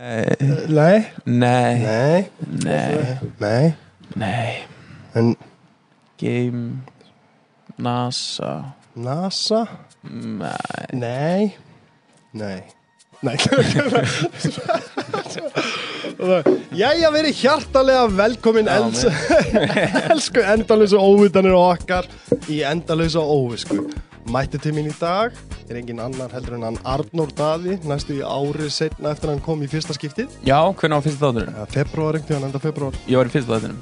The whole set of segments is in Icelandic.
Nei, Nei, nei, nei, nei, nei nei. En Game, NASA, NASA? nei. Nei Nei Nei Jæja, verið hjartalega velkomin Já, els, Elsku endalösa óvitanir okkar Í endalösa óvisku Mætti til mín í dag Er engin annar heldur en hann Arnór Daði Næstu í árið setna eftir að hann kom í fyrsta skiptið Já, hvernig var fyrsta þátturinn? Februar, einhvern tíðan enda februar Ég var í fyrsta þátturinn.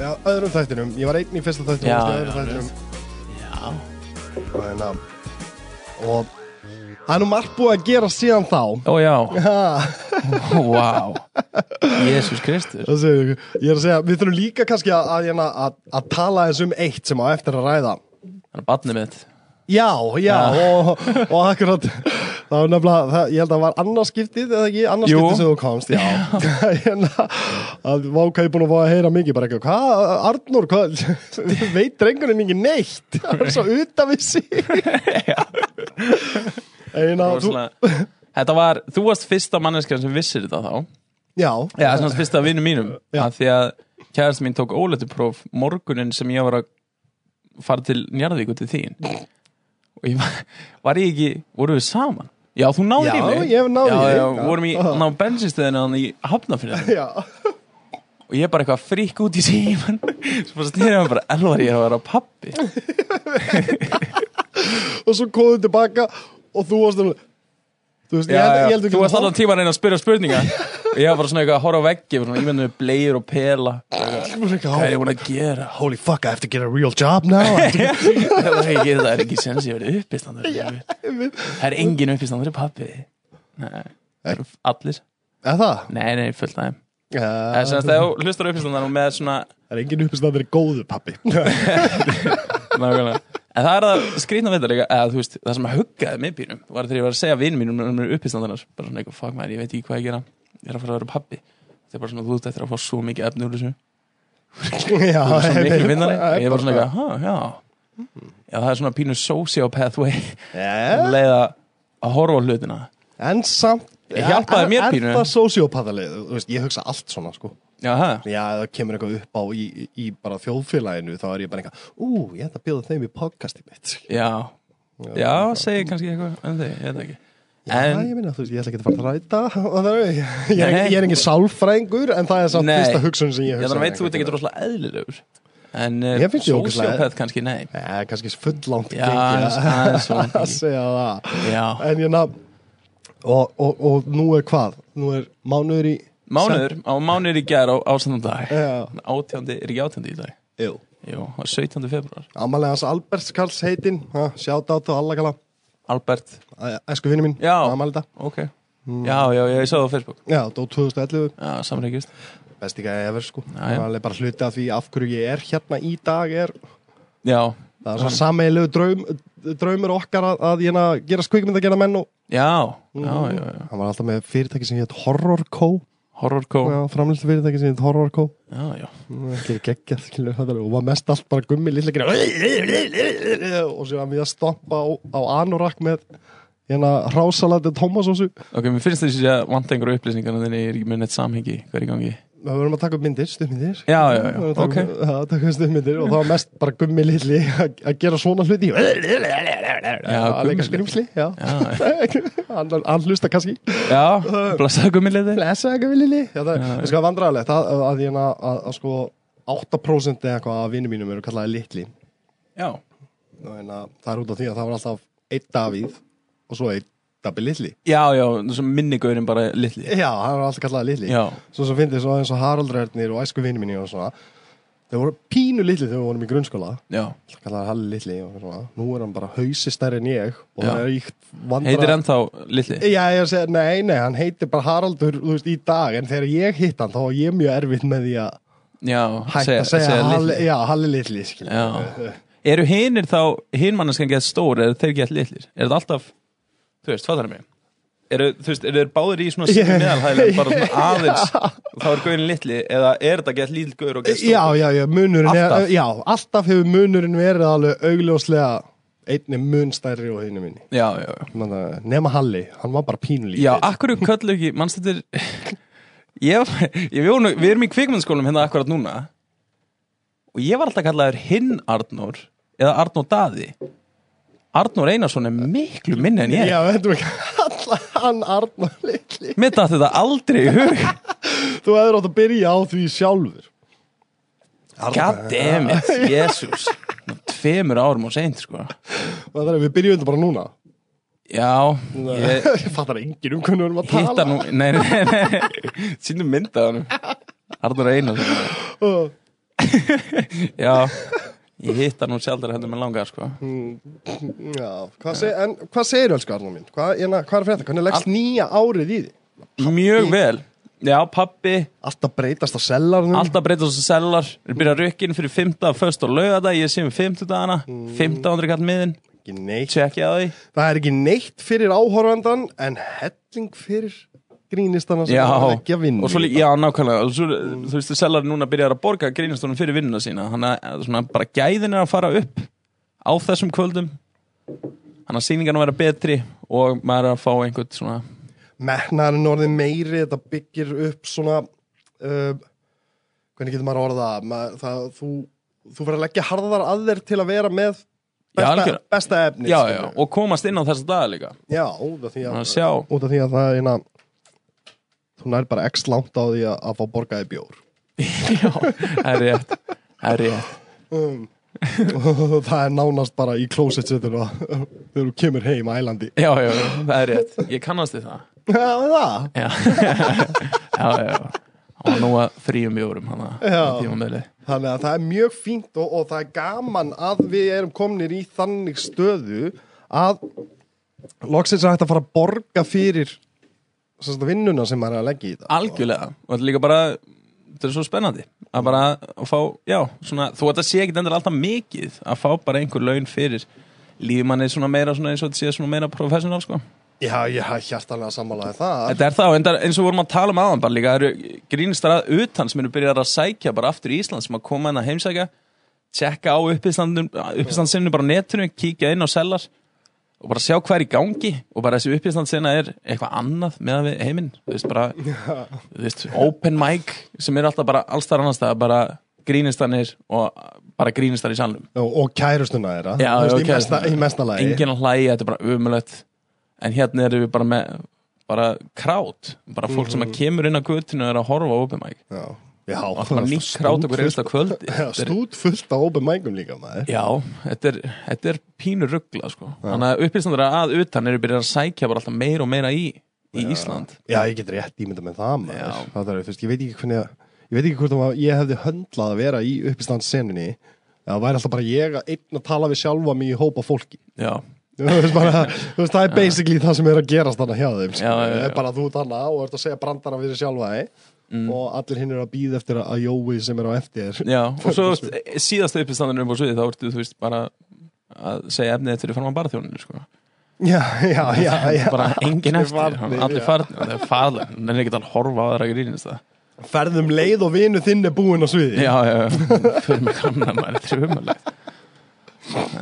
Já, öðrum þættinum, ég var einn í fyrsta þættinum Já, varstu í já, öðrum þættinum Já. Þannig að Og það er nú margt búið að gera síðan þá Ó já, Ha, Ó, vá. Jésús Kristus. það segir ykkur. Ég er að segja, við þurfum líka kannski að, að, hérna, að, að tala eins um eitt sem á eftir að ræða Þannig að batnið mitt. Já, já, og, og akkurat Það var nefnilega, það, ég held að það var annarskiptið eða ekki, Jú. annarskiptið sem þú komst Já, hérna að váka ég búin að fá að heyra mikið bara eitthvað, hvað, Arnur, hvað veit drengurinn ekki neitt það er svo utan við sig Eina, þú, Rosalega. Þetta var, þú varst fyrsta manneskjan sem vissir þetta þá. já, Já, það er svona fyrsta vinnu mínum Já. að því að kærast mín tók ólættupróf morgunin sem ég var að fara til Njarðvíku til þín og ég var, var ég ekki voru við saman? Já, þú náður Já, í mig ég já, náði í þig. Ah. Já, vorum í Aha. ná bensinstöðinu hann í Hafnafjörðinu já og ég bara eitthvað frík út í síman svo bara snýrði hann bara, elvar ég er að vera pappi og svo komum við tilbaka og þú varst alveg þú veist, ég held, ég held ekki þú varst allan tíma að reyna að spyrja spurninga og ég var bara svona eitthvað að horfa á veggi og svona, ég menn með bleiur og pela hvað er tíma ég búin að gera? holy fuck, I have to get a real job now I have to get- það var ekki, það er ekki sens ég verið uppistandur það er engin uppistandur í pappi nei, það eru allir eða það nei, nei, fullt af þeim það er Já, sem sagt, þegar þú hlustar uppistandar og með svona það er engin uppstæður góðu pappi nákvæmlega en það er það skrýtna við þetta líka eða þú veist, það sem að huggaði mig býrum var þegar ég var að segja vinnum mínum um uppistandarnar bara svona eitthvað, fuck maður, ég veit ekki hvað ég gera ég er að fara að vera pappi það er bara svona, þú ert eftir að fá svo mikið efni úr þessu já, þú ert svona mikil vinnari Já, og ég var svona bara- eitthvað, "Ha, já já, það er svona pínu sociopath way Já, leið að- að horfa á hlutina en samt Ég hjálpaði er- mér er pínu. það sociopathalið, þú veist, ég hugsa allt svona sko já, það já, ef það kemur eitthvað upp á í, í- í bara þjóðfélaginu þá er ég bara eitthvað, ú, ég ætla að bjóða þeim í podcasti mitt Já, já, segi kannski eitthvað um þig, ég veit það ekki En, En, ég minna, þú veist, ég ætla ekki að fara að ræta og það er, ég er, Nei. ég er engin sálfræðingur en það er samt Nei. fyrsta hugsun sem ég ég hugsa þannig veit þú ert ekki droslega eðlilegur En, Ég finnst ég ógeðslega- sociopath kannski, nei Nei, kannski fullt langt Já, aðeins- gengið að- aðeins svona að mikið. segja það Já, En ég nafn og, og, og nú er hvað? Nú er mánuður í mánuður, á mánuður í gær á ásendan dag Já. Átjándi, er ekki átjándi í dag? Jú Jú, á 17. februar Amalega hans Alberts Karls heitin Sjáta át og alla kalla Albert, Æsku vinni mín Já. Amalita ok Mm. Já, já, já, ég sá það á Facebook Já, dó 2011 Já, samreikist Besti gæði efer sko Já, já. Það er bara hluti af því af hverju ég er hérna í dag er Já, Það er svona sameilegu draum, draumur okkar að, að hérna, gera skvikmynd að gera menn og já, já, Mhm. já, já hann var alltaf með fyrirtæki sem hétt Horror Co Horrorco Já, framlýstu fyrirtæki sem hétt Horror Co já, ekki geggjað skilur þetta og var mest allt bara gummi lilla gera og svo var mér að stoppa á, á anorak með hérna hrásalandi tómasósu ok, mér finnst þessi að vanta einhverju upplýsingar en þannig ég er ekki með neitt samhengi, hvað er í gangi við verðum að taka upp myndir, stuðmyndir Já, já, já, ok okay. að taka upp stuðmyndir og það var mest bara gummi lilli að að gera svona hluti að Gummi leika Lilli. skrýmsli já. Já, hann, hann hlusta kannski já, blessaðu gummiliði Blessa ekki Vili Lí Já, það er sko vandræðilegt að, að, að, að, að, að sko 8% eða eitthvað af vinnum mínum eru kallaði litli Já, en að, hérna, það er út af því að það var alltaf einn Davíð og svo einn Dabbi litli já, já, svo minnigaurinn bara litli Já, hann var alltaf kallaði litli Já, Svo sem fyndið svo eins og Haraldræðnir og æsku vinnum mínum og svona Þau voru pínu litli þegar við vorum í grunnskóla já Alltaf kallaði Halli litli og svona Nú er hann bara hausi stærri en ég og Já. það er íkt vandræð Heitir ennþá litli Já, ég segi, nei, nei, hann heitir bara Haraldur, þú veist, í dag En þegar ég hitt hann, þá var ég mjög erfitt með því að Já, hægt að segja, Halli, já, Halli Lilli skilur. Já Eru hinir þá, hinmannanskan gett stór eða þeir gett litlir? Er það alltaf, þú veist, fattar mig Eru, þú veist, eru þeir báðir í svona yeah. Ég- meðalhæðlega bara svona aðeins og þá er gaurin litli eða er þetta gett lítil gaur og gett stór? já, já, já, munurinn Alltaf. er, já, alltaf hefur munurinn verið alveg augljóslega einni mun stærri og hinn minni já, já, já Þannig að- nema Halli, hann var bara pínulítið Já, akkur köllu ekki, mannst þetta er ég, var- ég vjó, nú- Við erum í kvikmyndaskólum hérna akkurat núna Og ég var alltaf kallaður hinn Arnór Eða Arnór Daði Arnór Einarsson er miklu minni en ég Já, þetta er ekki allan hann Arnar litli Mér datt þetta aldrei í hug Þú hefur átt að byrja á því sjálfur God damn it, Jesus Tveimur árum og seint sko Það er að við byrjum þetta bara núna Já, ég, Ég, fattar enginn um hvernig við erum að tala hitta nú Nei, nei, nei, nei. sínum myndað hann Arnur Einarsson Uh, Já, ég hitta nú sjaldur hendur með langar sko Já, hvað seg, en hvað segir elsku Arnar mín? Hvað, hérna, hvað er fyrir þetta? Hvernig leggst nýja árið í því? Mjög vel Já, pappi, Alltaf breytast á sellarnum alltaf breytast og sellar Við byrja rökkinn fyrir 15, föst og laugadag Ég sé um 50 dagana 1500 kall miðin, ekki neitt tjekki á því Það er ekki neitt fyrir áhorfandan En helling fyrir grínistana sem Já, það er ekki að vinna og svo líka, já, nákvæmlega og svo, Þú veist, sellar núna byrjar að borga grínastónum fyrir vinnuna sína Þannig að svona, bara gæðin er að fara upp Á þessum kvöldum Þannig að sýningarna vera betri Og maður er að fá einhvern svona Metnaðurinn orðið meiri, þetta byggir upp svona uh, Hvernig getur maður orða maður, það? Þú, þú verður að leggja harðar að þér til að vera með Já, besta, algjörlega. besta efni Já, já, og komast inn á þessa daga líka já út, af því Að að, sjá. út af því að það er eina Þú nær bara x langt á því að, að fá borgaði bjór Já, það er rétt Það er rétt um, og Það er nánast bara í closet setur þegar þú kemur heim á ælandi Já, já, já, það er rétt Ég kannast við það Já, það Já, já, já Og nú að fríum jórum hana Já. Tímamöli Þannig að það er mjög fínt og, og það er gaman að við erum komnir í þannig stöðu að loksins er hægt að fara að borga fyrir sem sagt, vinnuna sem maður er að leggja í það. Algjörlega, og þetta er líka bara þetta er svo spennandi að bara að fá, já, svona, þú þetta sé ekki endur alltaf mikið að fá bara einhver laun fyrir lífmanni svona meira svona eins og þetta sé svona meira professional sko. Já, ég hef hjartanlega sammálaði það. Þetta er þá, endar, eins og við vorum að tala um aðan bara líka, það eru grínistar að utan sem eru byrjar að sækja bara aftur í Ísland sem að koma henn að heimsækja, tjekka á uppistandsinu bara á netinu kíkja inn á sellar og bara sjá hvað er í gangi og bara þessi uppistandsina er eitthvað annað meðan við heiminn þú veist bara, þú veist, open mic sem er alltaf bara alls þar annars það bara grínistanir og bara grínistar í salnum Og, og kærustuna þeirra. Já, Þú já, veist, í, mesta, kærustuna. í mesta lagi. enginn að hlæja, þetta er bara umulögt en hérna erum við bara með bara krát, bara fólk sem Mhm. að kemur inn á göttinu og er að horfa á open mic Já, já. og alltaf bara nýtt krát okkur einasta kvöldi sko. Þetta Já, er- stút fullt á open mægum líka maður. Já, þetta er, þetta er pínu ruggla sko. þannig að upplýstandara að utan eru byrjað að sækja bara alltaf meira og meira í í Ísland Já, ég get rétt ímynda með það maður. Já. Það er, þú veist, ég veit ekki hvernig að, ég veit ekki hvort að ég hefði höndlað að vera í uppistandssenunni. Það væri alltaf bara ég að einn að tala við sjálfa mig í hópa fólki. Já, Þú veist, bara, þú veist, það er basically það sem er að gerast þarna hjá þeim. sko. Já, já, já. Það er bara þú þarna og ert að segja brandara fyrir sjálfa þeim og allir hinn eru að býða eftir að Jói sem er á eftir. já, og svo síðast upplýstandarinn upp á sviði þá ertu þú veist bara að segja efnið þetta er fram á barþjóninu sko. Já, já, já, já. bara engin Allir eftir, farnir, allir já. farnir það er farlega, hann er ekkert að horfa á aðra grínist það Ferðum um leið og vinu þinn er búinn á sviði. Já, já, já, fyrir mig kannan maður þetta er umhverlegt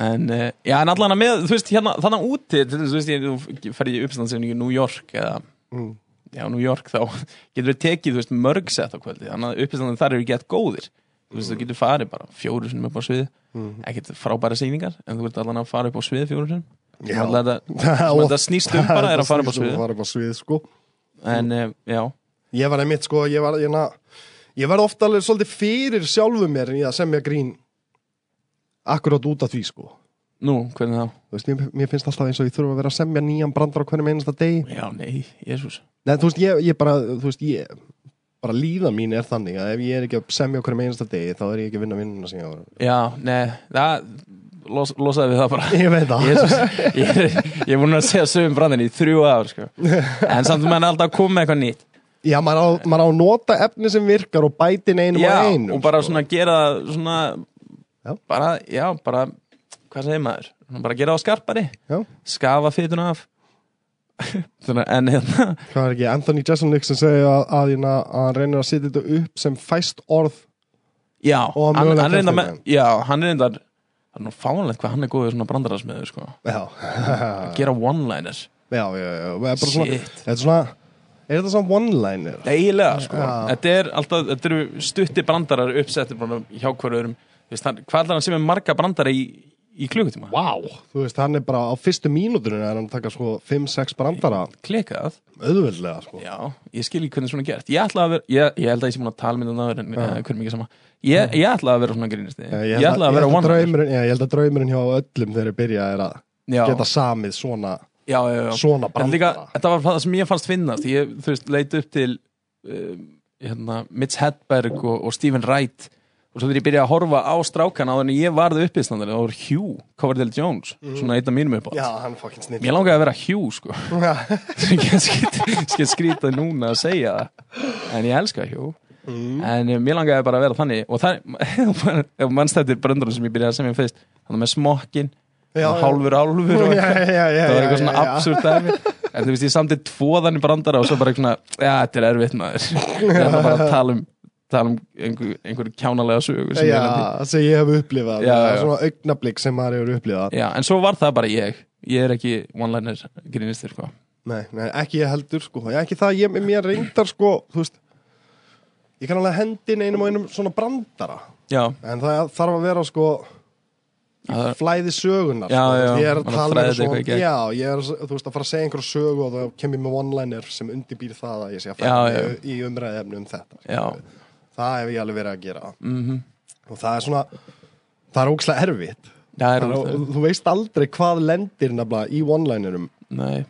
En, eh, já, en allan að með, þú veist, hérna, þannig úti, til þess, þú veist, ég- þú ferði í uppstandsefningu í New York eða, já, New York þá getur við tekið, þú veist, mörg sett á kvöldi, þannig að uppstandin þar eru gett góðir, þú veist, þú getur farið bara fjóru sinum upp á svið, ekkert frábæra sýningar, en þú ert allan að fara upp á svið fjóru sinum, Já. allan þetta, sem þetta snýst um bara er að fara upp á Það svið, fara upp á svið, sko. en, eh, já, Ég var einmitt sko, ég var, ég, ég var ofta alveg svolítið fyrir sjálfu mér en ég að semja grín akkurát út af því sko. nú, hvernig þá? Þú veist, mér, mér finnst alltaf eins og ég þurfa að vera að semja nýjan brandar á hvernig einasta degi. Já, nei, Jésús, Nei, þú veist, ég, ég bara, þú veist, ég bara líðan mín er þannig að ef ég er ekki að semja á hverjum einasta degi þá er ég ekki að vinna vinnuna sem ég ára. já, nei, það, los, losaði við það bara. Ég veit það. Jesus, ég, er, ég er búin að segja sögum brandin í þrjú ár sko. en samt mann er alltaf að koma með eitthvað nýtt Já, maður á, maður á að nota efni sem virkar og bæti inn einum já, og einum. sko. og bara svona gera það svona Já. bara, já, bara hvað segir maður, Svona bara gera það skarpari Já, skafa fytuna af svona, en hérna hvað er ekki, Anthony Jeselnik sem segir að, að, hérna, að, að hann reynir að setja þetta upp sem fæst orð já, Og hann, mögulega hann reyndar með, kjaftaðið. já, hann reyndar það er nú fánlegt hvað hann er góður svona brandararsmiður sko. Já, gera one-liners Já, já, já, það er bara svona, Shit. þetta er svona, Er þetta svona one-liner? eiginlega sko. Já. þetta er alltaf, þetta eru stutti brandarar uppsettir bara hjá hverju öðrum Þú veist, hann- hvað er hann sem er marga brandara í, í klukkutíma? Vá! Þú veist, hann er bara á fyrstu mínútunum er hann að taka sko 5-6 brandara klikað, auðveldlega sko. já, ég skil ekki hvernig svona er gert ég ætla að vera, ég, ég held að ég sé múin að tala myndan áður en uh, hvernig mikið sama ég, ég ætla að vera svona grínist ég, Eh, Ég, ætla að vera ég held one draumurinn, já, ég held að draumurinn hjá öllum þegar ég byrja er að já, geta samið svona, já, já, já. svona En líka, brandara þetta var það sem ég fannst finnast ég, þú veist, leit upp til um, hérna, Mitch Hedberg og, og Stephen Wright og svo þegar ég byrjaði að horfa á strákan á þannig ég varði uppistandari, það voru Hugh Coverdale Jones, svona einn af mínum upp Mhm. Já, hann er fokkin snill Mér langaði að vera Hugh, sko Skal skrýta núna að segja það En ég elska Hugh Mhm. En eh, mér langaði bara að vera þannig Og það, ef mannstættir bröndurum sem ég byrjaði að semja fyrst Þannig með smokkin, Já, já. hálfur hálfur og Já, já, já, já, það var já, eitthvað svona já, já. absúrt dæmi en þú veist ég samtid tvo þannig brandara og svo bara eitthvað svona, já þetta er erfitt maður ég ætla bara að tala um tala um einhver, einhver kjánalega sögu sem ég Já, lendi í. það sem ég hef upplifað Já, það er já. Svona augnablik sem maður hefur upplifað já, en svo var það bara ég ég er ekki one-liner grínistur sko. Nei, nei, ekki ég heldur sko Já, Ekki það, ég, mér reyndar sko Þú veist Ég kann alveg hendin einum og einum svona brandara já, En það þarf að vera sko það, flæði sögunar Já, sko. já, Ég er að hann tala þræðir um eitthvað í svona gegn. Já, ég er þú veist, að fara að segja einhverju sögu og þá kem ég með one-liner sem undirbýr það að ég sé að Já, fæða já. í, í umræði efni um þetta já, Það hef ég alveg verið að gera mhm, og það er svona það er ókslega erfitt það er Það er, úr þú veist aldrei hvað lendir nefnilega í one-linerum nei,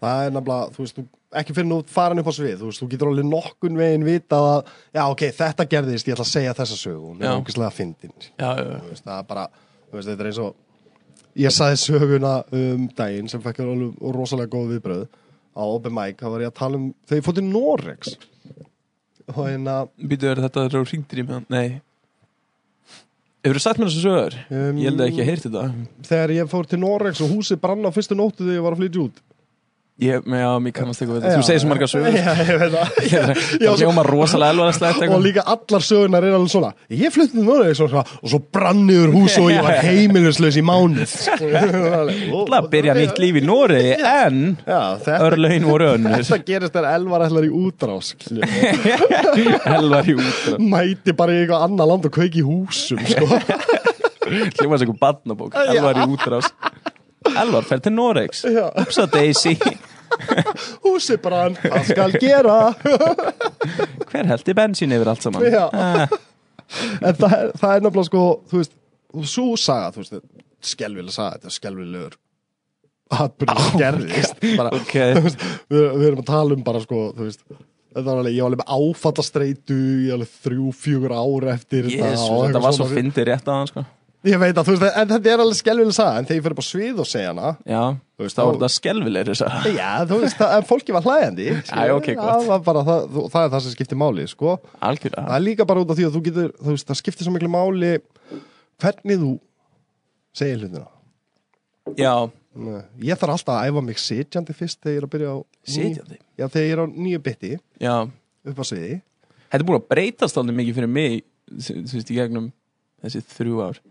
það er nefnilega, þú veist, þú, ekki fyrir nú farin upp á svið, þú veist, þú getur alveg nokkun veginn vitað að, já ok, þetta gerðist ég ætla að segja þessa sögu, hún er Já. ókvæslega fyndin, já, já, þú veist, það er bara þú veist, þetta er eins og ég saði söguna um daginn sem fekk alveg rosalega góð viðbröð á open mic, þá var ég að tala um þegar ég fótt til Norex og hérna býtu verið þetta eru hringdir í meðan, nei hefur þú sagt mér þessu sögur? Um, ég held að ekki að heyrti þetta þegar ég fór til Norex og húsið brann á fyrstu nóttu þegar ég var að flytja út ég, já, mér kannast eitthvað við þetta, þú segir svo margar sögur Já, ég veit það það svo- hljóma rosalega elvarðarslegt og líka allar sögunar er alveg svona ég flutti til Noreg og, og svo brann yfir hús og ég var heimilislaus í mánuð ætla að byrja nýtt líf í Nóri en Já, þetta, örlögin voru önnur þetta gerist þegar Elvar ætlar í útrás skilju. Elvar í útra mæti bara í eitthvað annað land og kveiki í húsum sko. hljóma þessu barnabók Elvar í útrás Elvar fer til Noregs Já. Upsa Daisy húsi brann, það skal gera Hver heldur bensín yfir allt saman Já. Ah, en það er, það er nefnilega sko þú veist, svo saga þú veist, skelvilega saga, þetta er skelvilegur atbyrður oh gerðist bara, Ok Þú veist, við, við erum að tala um bara sko þú veist Þetta var alveg, ég var alveg með áfattastreitu í alveg þrjú, fjögur ár eftir Jesus, og þetta eitthvað var svo svona. fyndið rétt á hann sko Ég veit að, þú veist, en þetta er alveg skelvileg saga En þegar ég fyrir upp á svið og segja hana Já, Þú veist, þá þá- voru þetta skelvilegri þessar Já, þú veist, það, en fólki var hlægandi Æ, ok, gott. Það var bara, það, þú- það er það sem skiptir máli, sko Það Algjörlega er líka bara út af því að þú getur, þú veist, það skiptir svo miklu máli Hvernig þú segir hlutina Já, Ég þarf alltaf að æfa mig sitjandi fyrst þegar ég er að byrja á ný- Sitjandi? Já, þegar ég er á nýju bytti já upp á sviði Þetta er búin að breytast alveg mikið fyrir mig þú þú veist, í gegnum þessi þrjú ár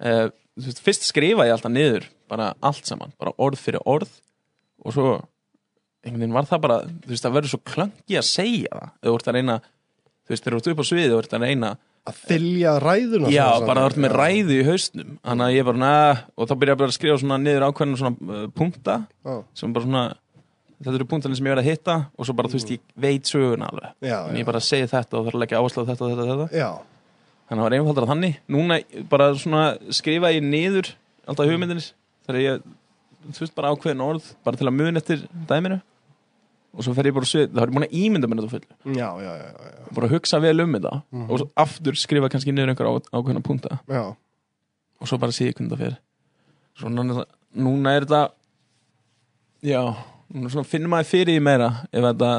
uh, veist, Fyrst skrifa ég alltaf niður bara allt saman, bara orð fyrir orð og svo einhvern veginn var það bara, þú veist, það verður svo klöngi að segja það, ef þú ert að reyna þú veist, þegar þú ert upp á sviði, þú ert að reyna að þylja ræðuna já, svona bara þú saman. ert með ræðu í haustnum þannig að ég bara, na, og þá byrja ég bara að skrifa svona niður ákveðnum svona uh, punkta Já. sem bara svona þetta eru punktarnir sem ég verið að hitta og svo bara, þú veist, ég veit söguna alveg Já, en já. ég bara segi þetta og þarf að leggja áherslu á þetta og þetta, og þetta Já, þannig að það var einfaldara þannig núna bara svona skrifa ég niður alltaf hugmyndinir þegar ég, þú veist bara ákveðin orð bara til að muna eftir dæminu og svo fer ég bara að svið, þá er ég búin að ímynda mér þetta fullu, já, já, já, já, bara að hugsa vel um þetta Mhm. og svo aftur skrifa kannski niður einhver á- ákveðna punta já. og svo bara sé ég hvernig það fer svo núna, núna er þetta já, núna svona finnum maður fyrir því meira ef þetta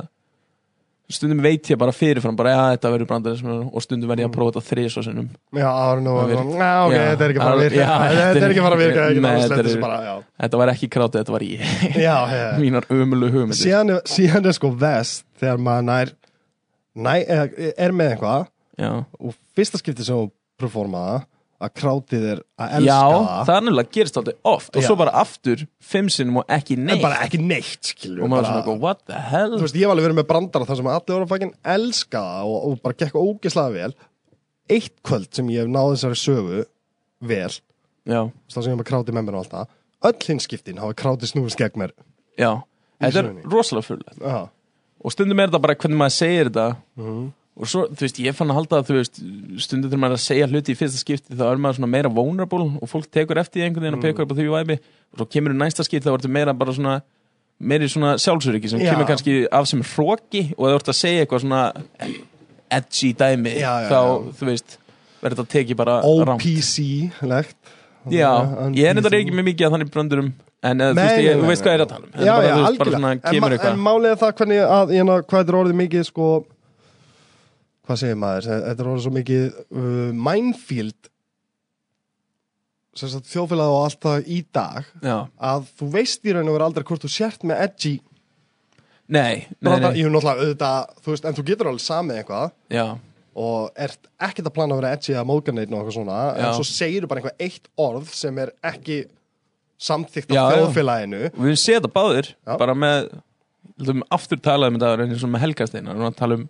stundum veit ég bara fyrirfram bara, já, þetta verður brandarinn og stundum verð ég að prófa þetta þrið svo sinnum Já, árið nú, Það já, virk- ok, já. þetta er ekki að fara að virka, Já, þetta er ekki að fara að virka, ég get Nei, alveg þetta slett þessu er- bara, já. Þetta var ekki krátið, þetta var ég Já, já, Mínar ömulu já. hugmyndir Síðan, er- síðan er sko vest þegar maður nær, næ, eh, er með eitthvað Já, og fyrsta skipti sem hún performaða að krátið er að elska Já, það það er nefnilega gerist alltaf oft og Já. svo bara aftur, fimm sinnum og ekki en neitt bara ekki neitt skilur, og maður er svona, eitthvað, what the hell þú veist, ég var alveg verið með brandara þar sem allir voru að fækinn elska það og, og bara gekk ógeðslega vel eitt kvöld sem ég hef náð þessari sögu vel, þú Já, veist, þá sem ég hef bara krátið með mér og allt það öll hinskiptin hafa krátið snúðist gegn mér já, þetta er sögunni. rosalega fullið Já, og stundum er þetta bara hvernig maður segir þetta Mhm. og svo, þú veist, ég fann að halda að þú veist, stundum þegar maður er að segja hluti í fyrsta skipti þá er maður svona meira vulnerable og fólk tekur eftir því einhvern Mhm. veginn og pekur upp á því væmi og svo kemur í næsta skipti þá ertu meira bara svona meiri svona sjálfsöryggi sem Já. kemur kannski af sem hróki og ef þú ert að segja eitthvað svona edgy dæmi Já, já, þá, já. þú veist, verður þetta tekið bara rangt. OPC-legt Já, Þannig að ég er þetta unpísing. ekki með mikið að þannig bröndurum En eða, þú Nei, veist, ég, nei, þú nei, veist hvað nei. ég er að tala um En Já, bara, já, þú veist, bara svona algjörlega kemur en, ma- en eitthvað málið er það hvernig að, ég ná, hvað þetta er orðið mikið sko hvað segir maður, Þe- þetta er orðið svo mikið uh, minefield sem sagt þjóðfélag og allt það í dag Já, að þú veist í raun og veru aldrei hvort þú sért með edgy nei, nei, brandar, nei ég er náttúrulega auðvitað, þú veist, en þú getur alveg samið eitthvað Já, og ert ekkert að plana að vera edgy eða móðgarneitn og eitthvað svona, Já. en svo segir þú bara eitthvað eitt orð sem er ekki samþykkt Já, af já. þjóðfélaginu og við séum þetta báðir Já. Bara með, heldum, aftur talaðum þetta En eins og með helgasteinar, og að tala um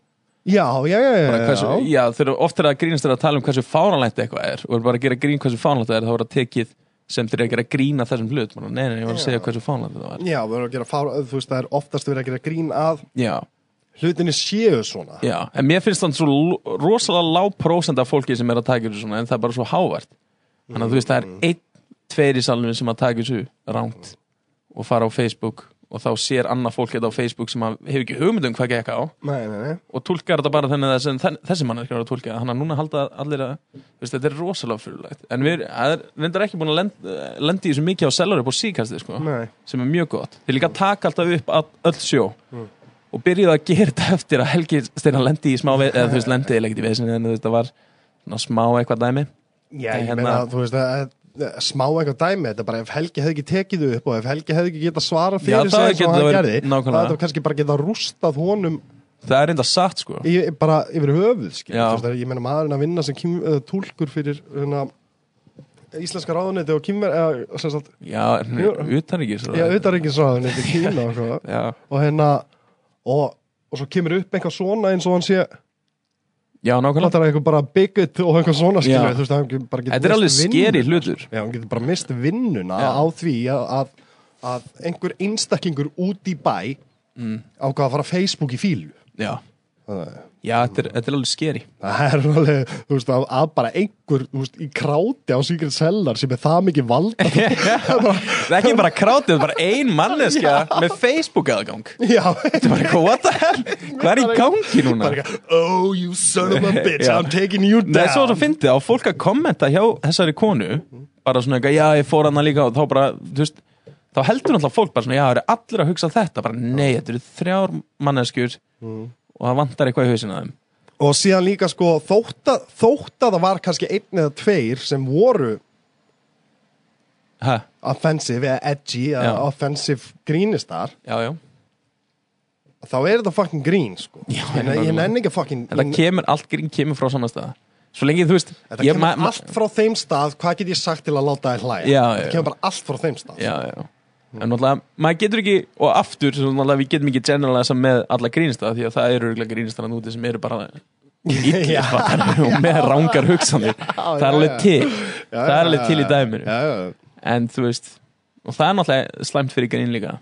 Já, já, já, já, bara hversu, já. Já, þegar oft er að grínast þeirra að tala um hversu fáranlegt eitthvað er Og er bara að gera grín hversu fáranlegt það er Þá er það tekið sem þeir eru að gera grína þessum hlut bara, Nei, nei, ég var að segja hversu fáranlegt það var Já, við erum að gera fár, þú veist, það er oftast verið að gera grín að Já, hlutinni séu svona. já, en mér finnst þannig svo lo- rosalega lág prósend af fólki sem er að taka þessu svona En það er bara svo hávært Þannig að þú veist, það Mm. er einn, tveir í salunum sem að taka þessu rámt Mm. og fara á Facebook og þá sér annað fólk þetta á Facebook sem að hefur ekki hugmynd um hvað gekk á Nei, nei, nei. og tólkar þetta bara þannig að þessi, þen- þessi mann er ekki að tólka þannig að núna halda allir að þú veist, þetta er rosalega fyrirlegt en við erum ekki búin að lend- eh, lenda í þessu mikið á sellar upp á síkastið sko, Nei. sem er mjög gott þeir líka taka alltaf upp all, öll sjó Mm. og byrjuðu að gera þetta eftir að Helgi Steinar lendi í smá veð eða þú veist, lendi eiginlega ekkert í veðsinn en þú veist, það var svona smá eitthvað dæmi Já, Nei, ég hérna- meina, þú veist, að, að, að smá eitthvað dæmi, þetta er bara ef Helgi hefði ekki tekið þau upp og ef Helgi hefði ekki getað svarað Já, það fyrir sig eins og getur hann verið- gerði, nákvæmlega. það er kannski bara getað rústað honum það er enda satt sko í, bara yfir höfuð, skil. Já. Þú veist, það er- ég meina maðurinn að vinna sem kim, uh, tólkur fyrir hana, íslenska ráðuneti og kimmer, eða, sem sagt, Já, utan ekki já, auðarreikinsráðuneti kína og hvað. Já, og hérna og, og svo kemur upp eitthvað svona eins og hann sé já nákvæmlega þetta er eitthvað bara bigot og eitthvað svona skilur Já. þú veist hann getur bara Þetta getur er alveg mist vinnuna. skeri hlutur já, hann getur bara mist vinnuna Já. á því að, að, að einhver einstaklingur út í bæ Mm. ákvað að fara á Facebook í fílu Já, það er- já þetta, er, þetta er alveg skeri það er alveg, þú veist, að, að bara einhver, þú veist, í kráti á Secret Cellar sem er það mikið valda Það er ekki bara krátið, það er bara ein manneskja með Facebook aðgang já, Þetta var eitthvað, what the hell, hvað er í gangi núna? bara eitthvað oh you son of a bitch, Já. I'm taking you down Nei, svo það fyndið á fólk að kommenta hjá þessari konu bara svona eitthvað, já, ég fór hana líka og þá bara, þú veist, þá heldur náttúrulega fólk bara svona, já, það eru allir að hugsa þetta bara, nei, þetta eru þrjár manneskjur Mm. og það vantar eitthvað í hausinu að þeim og síðan líka sko þótt að, þótt að það var kannski einn eða tveir sem voru Hæ, offensive eða edgy eða Já. offensive grínistar já, já þá er þetta fucking grín sko Já, ég, ne- ég nákvæmlega. nenni ekki að fucking Þetta kemur, allt grín kemur frá saman stað Svo lengi þú veist þetta ég- kemur ma- ma- allt frá þeim stað hvað get ég sagt til að láta þér hlæja Já, já, þetta já. kemur bara allt frá þeim stað Já, já En náttúrulega, maður getur ekki, og aftur svo náttúrulega við getum ekki generalisa með alla grínstað því að það eru örugglega grínstaðan úti sem eru bara Já. illir fattar og með rángar hugsanir Það er já, alveg já. til, það er alveg til í dæminu já, já. En þú veist, og það er náttúrulega slæmt fyrir grín líka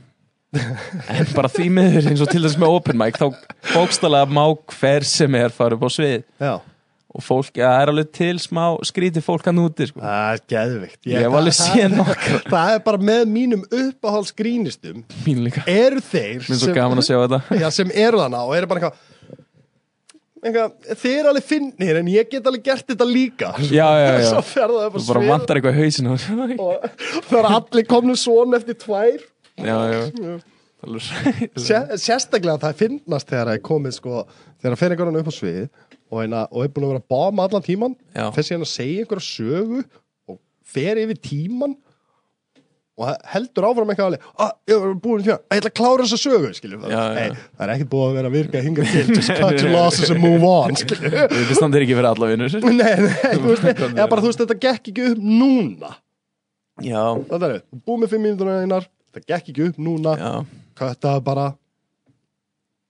En bara því miður eins og til þess með open mic þá bókstala má hver sem er fara upp á svið já. og fólk, ja, það er alveg til smá skríti fólk hann úti sko. það er geðvikt Ég hef alveg séð nokkra það er bara með mínum uppáhalds grínistum Mín líka eru þeir Mér er svo gaman að sjá þetta já, sem eru þarna og eru bara eitthvað eitthvað, þið eru alveg finnir en ég get alveg gert þetta líka Já, já, já svo fer það upp á Þú bara svið vantar eitthvað í hausin og Já, og það eru allir komnum svona eftir tvær já Alveg- Sé, sérstaklega það finnast þegar það er komið sko, þegar það fer einhverjan upp á svið og, eina, og er búin að vera að bomba allan tíman Já. þessi hann að segja einhverja sögu og fer yfir tíman og he- heldur áfram eitthvað alveg að ég er búin til það, ég ætla að klára þessa sögu skilju, það, Já, já. Nei, það er ekkert búið að vera að virka hinga til, just cut your losses and move on skilju, Þetta standir ekki fyrir alla vinnur nei, nei, þú veist eða bara þú veist, þetta gekk ekki upp núna Já, það er, búið með fimm mínútur einar það gekk ekki upp núna, já, kötta bara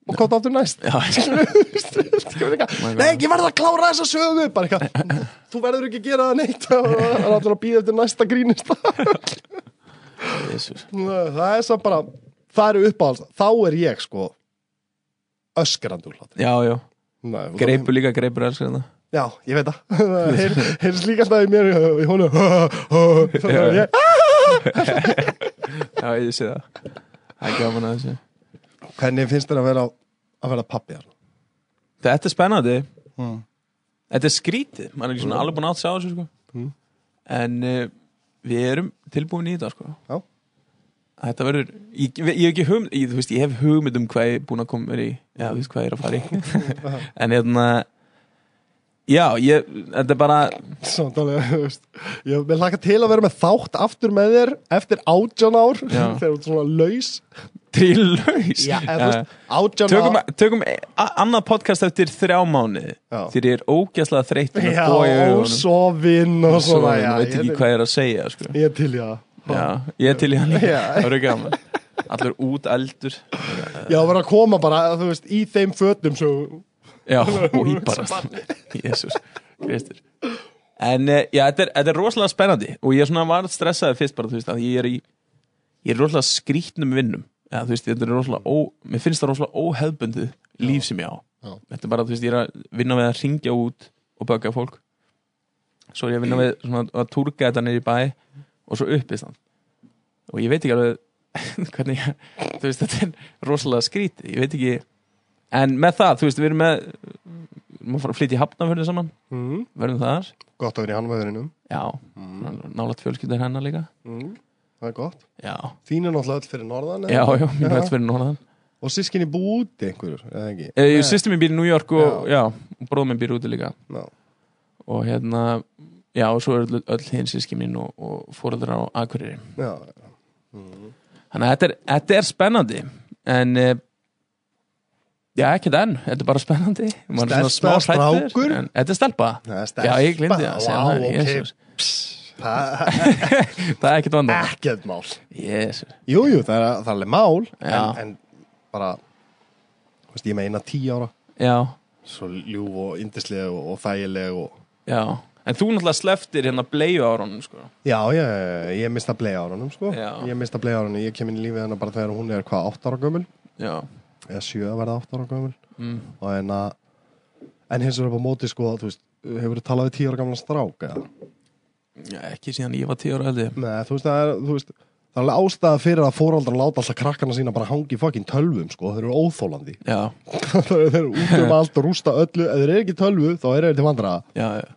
og kota aftur næst já Oh Skilur við eitthvað, Nei, ég verður að klára þessa sögu bara eitthvað, þú verður ekki að gera það neitt og það er allir að býða eftir næsta grínist Jesus. það er svo bara það eru uppáhalds, þá er ég sko öskrandi úr hlátur Já, já, Nei, þú- greipur líka, greipur elskar þetta já, ég veit það það heyr- heyrðist líka alltaf í mér í- í honum þannig að ég, Já, ég sé það Það er gaman að þessu hvernig finnst þér að vera að vera pappi þarna? Þetta er spennandi Mm. Þetta er skrítið, maður er ekki Hmm. svona alveg búin að átt sá þessu sko. Mm. En uh, við erum tilbúin í þetta sko. Já. Þetta verður ég, ég, hef ekki hugmynd, ég, þú veist, ég hef hugmynd um hvað ég er búin að koma mér í Já, þú veist hvað ég er að fara í En hérna Já, ég, þetta er bara Samtalið, þú veist Ég vil hlaka til að vera með þátt aftur með þér eftir átján ár Já. þegar þú ert svona laus trilöys Já, eða þú veist, átján ár Tökum, tökum e- a- annað podcast eftir þrjá mánuði Já. Þegar ég er ógæslega þreytt Já, ósofinn og svona já, Ég veit ég ekki til- hvað ég er að segja sko. Ég er til, já Já, ég er til í hann líka. Já. Það verður gaman Allur út eldur Já, vera að koma bara, þú veist, í þeim fötum svo Já, og íbarast Jésús, Kristur En eh, já, þetta er, þetta er rosalega spennandi Og ég svona var stressaði fyrst bara, þú veist að Ég er í, ég er í rosalega skrýtnum vinnum Já, þú veist, þetta er rosalega ó, Mér finnst það rosalega óhefbundið líf sem ég á Já. Þetta er bara, þú veist, ég er að vinna við að ringja út Og bögga fólk Svo er ég að vinna við svona, að túrka þetta niður í bæ Og svo upp í stand Og ég veit ekki alveg Hvernig, ég, þú veist, þetta er rosalega skrýti Ég veit ekki En með það, þú veist, við erum með Má fara að flytja í hafnafjörðu saman mm. Verðum þar Gott að vera í hannveðurinum Já, nálaðt fjölskyldur hennar líka mm. Það er gott Já, Þín er náttúrulega öll fyrir norðan já, eða? já, mín rætt fyrir norðan Og sískinni búti einhverjur, eða ekki Eh, Sýstir mín býr í New York og, Já. já, já bróð minn býr úti líka Já. Og hérna, já, og svo er öll, öll hinn síski mín og, og fóreldrar á Akureyri Já, Þannig að þetta er, þetta er spennandi En, eh, já, ekki enn, þetta er bara spennandi Maður er Stelpa, svona smá hræddur, strákur? en Þetta er stelpa það er Já, ég glemdi að segja Vá, það, ok Jesus. Pss, Það Það er ekkert vandar er ekkert mál Jésus Jú, jú, það er, það er alveg mál Já. en, en bara, þú veist, ég meina tíu ára Já, Svo ljúf og yndisleg og, og þægileg og Já, en þú náttúrulega sleftir hérna bleiu áronum sko. Já, já, já, ég mista blei árunum sko Já. Ég mista blei árunum, ég kem inn í lífið hennar bara þegar hún er hvað, 8 ára gömul Já, eða 7 að verða 8 ára gömul mm. og en að, en hins vegar upp á móti sko, þú veist, hefur þú talað við 10 ára gamla strák eða? Já, ekki síðan ég var 10 ára held ég Nei, þú veist, það er, þú veist, það er alveg ástæða fyrir að fóraldar láta alltaf krakkana sína bara hangi í fucking tölvum sko, þeir eru óþólandi Já, Þeir eru út um allt og rústa öllu, ef þeir eru ekki í tölvu þá eru þeir til vandra já, já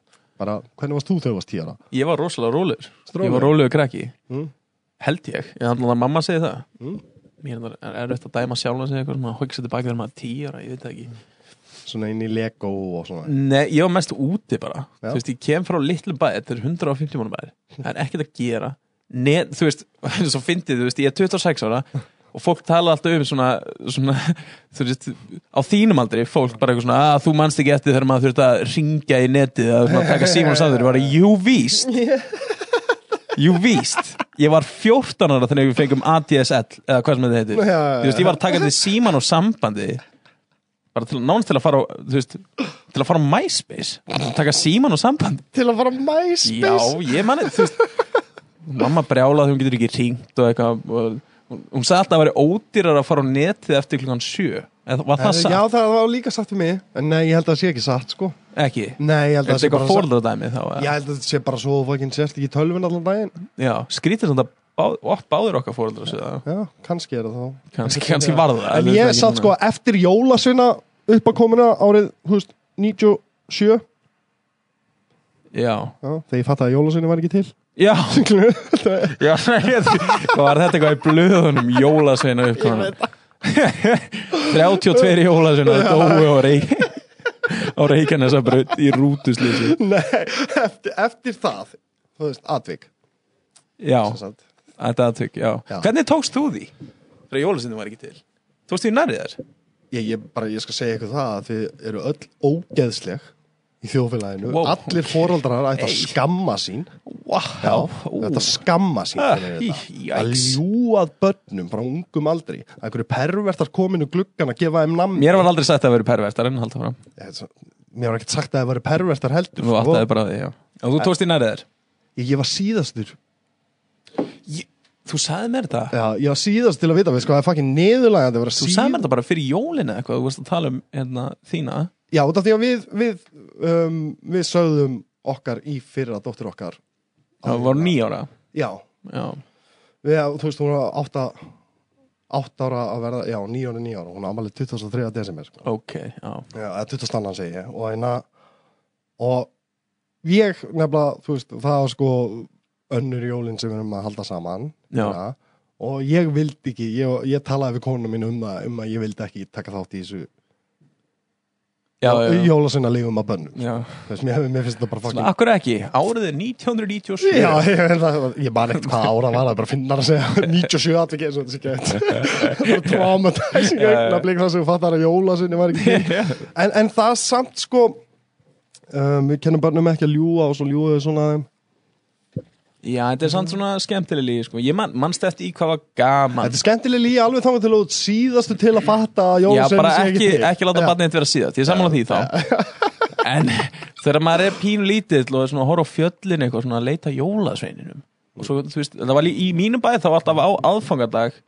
bara, hvernig varst þú þegar þú varst 10 ára? Ég var rosalega rólegur Strólegur. Ég var rólegur krakki Mm. Held ég, ég þannig að mamma segi það Mm. Mér er- er erfitt að dæma sjálf að segja eitthvað svona Hugsa tilbaka þegar maður er 10 ára, ég veit það ekki Svona inn í Lego og svona Nei, ég var mest úti bara Já. Þú veist, ég kem frá litlu bæ, þetta er 150 mánu bæ Það er ekkert að gera Net, Þú veist, svo fyndið, þú veist, ég er 26 ára Og fólk tala alltaf um svona, svona Þú veist, á þínum aldrei Fólk bara eitthvað svona, að þú manst ekki eftir Þegar maður þurft að ringja í netið Að svona, taka síman sáður, var jú víst Jú víst Ég var 14 ára þannig að við fengum ADSL Eða hvað sem þetta heitir Já, já, já. Þú veist, ég var að taka því síman og sambandi bara til, nánast til að fara á, þú veist, til að fara á MySpace og taka síman og samband Til að fara á MySpace já, ég manni, þú veist mamma brjálaði, hún getur ekki ringt og eitthvað og, hún- hún sagði alltaf að það væri ódýrar að fara á netið eftir klukkan sjö Eða var það Herri, satt? Eh, Já, það var líka satt um mig En nei, ég held að það sé ekki satt, sko ekki Nei, ég held er að það þetta sé bara eitthvað fórlöðdæmi þá Ég já, held að það sé bara svo fokkin sérst ekki í tölvun allan daginn já skrítið samt að bá, og báður okkar fórlöður ja. Já, kannski er það þá kannski, kannski var það En þú veist ég ekki satt núna. sko eftir jólasveina upp að komina árið, hú veist, 97 Já, já, þegar ég fatt að jólasveina var ekki til já, Það- já hvað var þetta eitthvað í blöðunum jólasveina uppkvæmum 32 jólasveina dói á reik á reikarnes að braut í rútuslýsi Nei, eftir, eftir það Þú veist, atvik já, sem sagt. Þetta aðtök, já. Já. Hvernig tókst þú því? Þegar jólasendin var ekki til Tókst því nærið þér? Ég, ég, bara, ég skal segja ykkur það að þið eru öll ógeðsleg í þjóðfélaginu. Wow. Allir fóraldrar ætti að Hey. skamma sín. Já, Wow, þetta skamma sín Ah, fyrir þetta. í- Að yikes. ljúað börnum frá ungum aldri. Að einhverju pervertar kominu gluggan að gefa þeim namn. Mér var aldrei sagt að vera pervertar en halda fram Þetta- Mér var ekkert sagt að það væri pervertar heldur. Þú sko. áttaði bara á því, já Og þú tókst því nærið þér? Ég, ég var síðastur Ég- Þú sagði mér þetta? Já, ég var síðast til að vita við sko, það er fucking neðurlægandi að vera Þú sagði mér þetta bara fyrir jólina eitthvað Þú varst að tala um hérna, þína Já, út af því að við við, um, við sögðum okkar í fyrra dóttir okkar Það var nýjára Já, Já, við, þú veist, hún var átta átta ára að verða, já, nýjónu nýjónu hún ámalið 23. desember sko. ok, já Já, eða 20. annan segi ég og hérna og ég nefnilega, þú veist, það var sko önnur jólin sem við erum að halda saman Já. hérna, og ég vildi ekki, ég, ég talaði við konunum mín um það, um að ég vildi ekki taka þátt í þessu Já, já, já. jólasunna lífum að bönnum já. Þú veist, mér, mér finnst þetta bara Svona, fucking Akkur ekki, árið er 1997 Já, ég, ég, það- ég man ekkert hvað ára var það bara finnar að segja 97 allir getur þetta sé gett bara traumatizing augnablik þar sem þú fattar að jólasunni var ekki til. en, en það samt sko um, við kennum börnum ekki að ljúa og svo ljúa við svona að þeim Já, þetta er samt svona skemmtileg lígi sko. Ég man, manst eftir í hvað var gaman Þetta er skemmtileg líi alveg þangar til út síðastu til að fatta Já, að jólasunni bara sé ekki, ekki til ekki láta Já. barnið þitt vera síðast, ég er sammála því þá En þegar maður er pínu lítill og er svona að horfa á fjöllin eitthvað svona að leita að jólasveininum og svo, þú veist, það var lí- í mínum bæði þá var alltaf á aðfangadag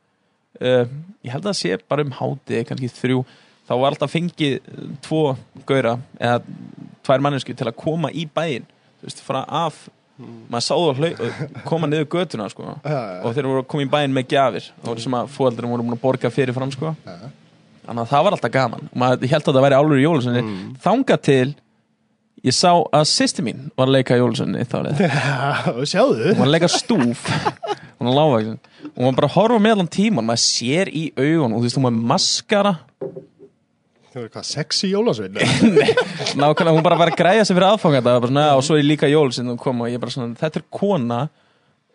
uh, ég held að það sé bara um háti kannski þrjú, þá var alltaf fengið eh, tvo gaura eða tvær mannesku til að koma í bæinn þú veist, frá af maður sá það hlau, koma niður götuna sko, Já, já, já. og þeir voru að koma í bæinn með gjafir og sem að fóaldurinn voru múin að borga fyrir fram sko. þannig að það var alltaf gaman og maður ég held að það væri álur í jólusunni þanga til ég sá að sýsti mín var að leika í jólusunni þá leið Já, Sjáðu hún var að leika stúf hún var lágvaksin og hún var bara að horfa meðan tíman maður sér í augun og þú veist hún var með maskara Þú veist hvað, sexy jólasunni nákvæmlega hún bara var að græja sig fyrir aðfanga þetta svona, og svo er líka jól sem hún kom og ég bara svona þetta er kona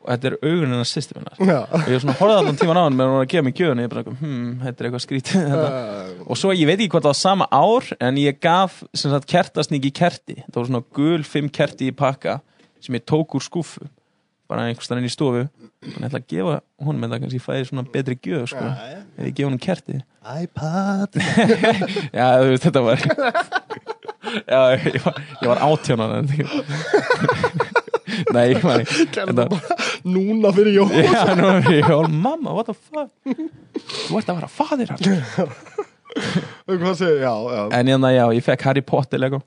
og þetta er augun hennar sýsti minnar Já og ég svona horfði allan tíman á hann meðan hún var að gefa mig gjöfun og ég bara hm, þetta er eitthvað skrítið þetta og svo ég veit ekki hvort það var sama ár en ég gaf sem sagt kertasningi kerti það voru svona gul fimm kerti í pakka sem ég tók úr skúfu bara einhvers staðar inn í stofu og ég ætla að gefa honum en það kannski fæði svona betri gjöf sko, Já, ef ég gefa honum kerti iPad já, þú veist, þetta var já, ég var, ég var átjónan en nei, ég var ekki Gerðu Þetta- það bara Núna fyrir jól já, nú er ég hól, mamma, what the fuck þú ert að vera fadir hans Hvað segir, já, já En hérna, já, ég fekk Harry Potter Lego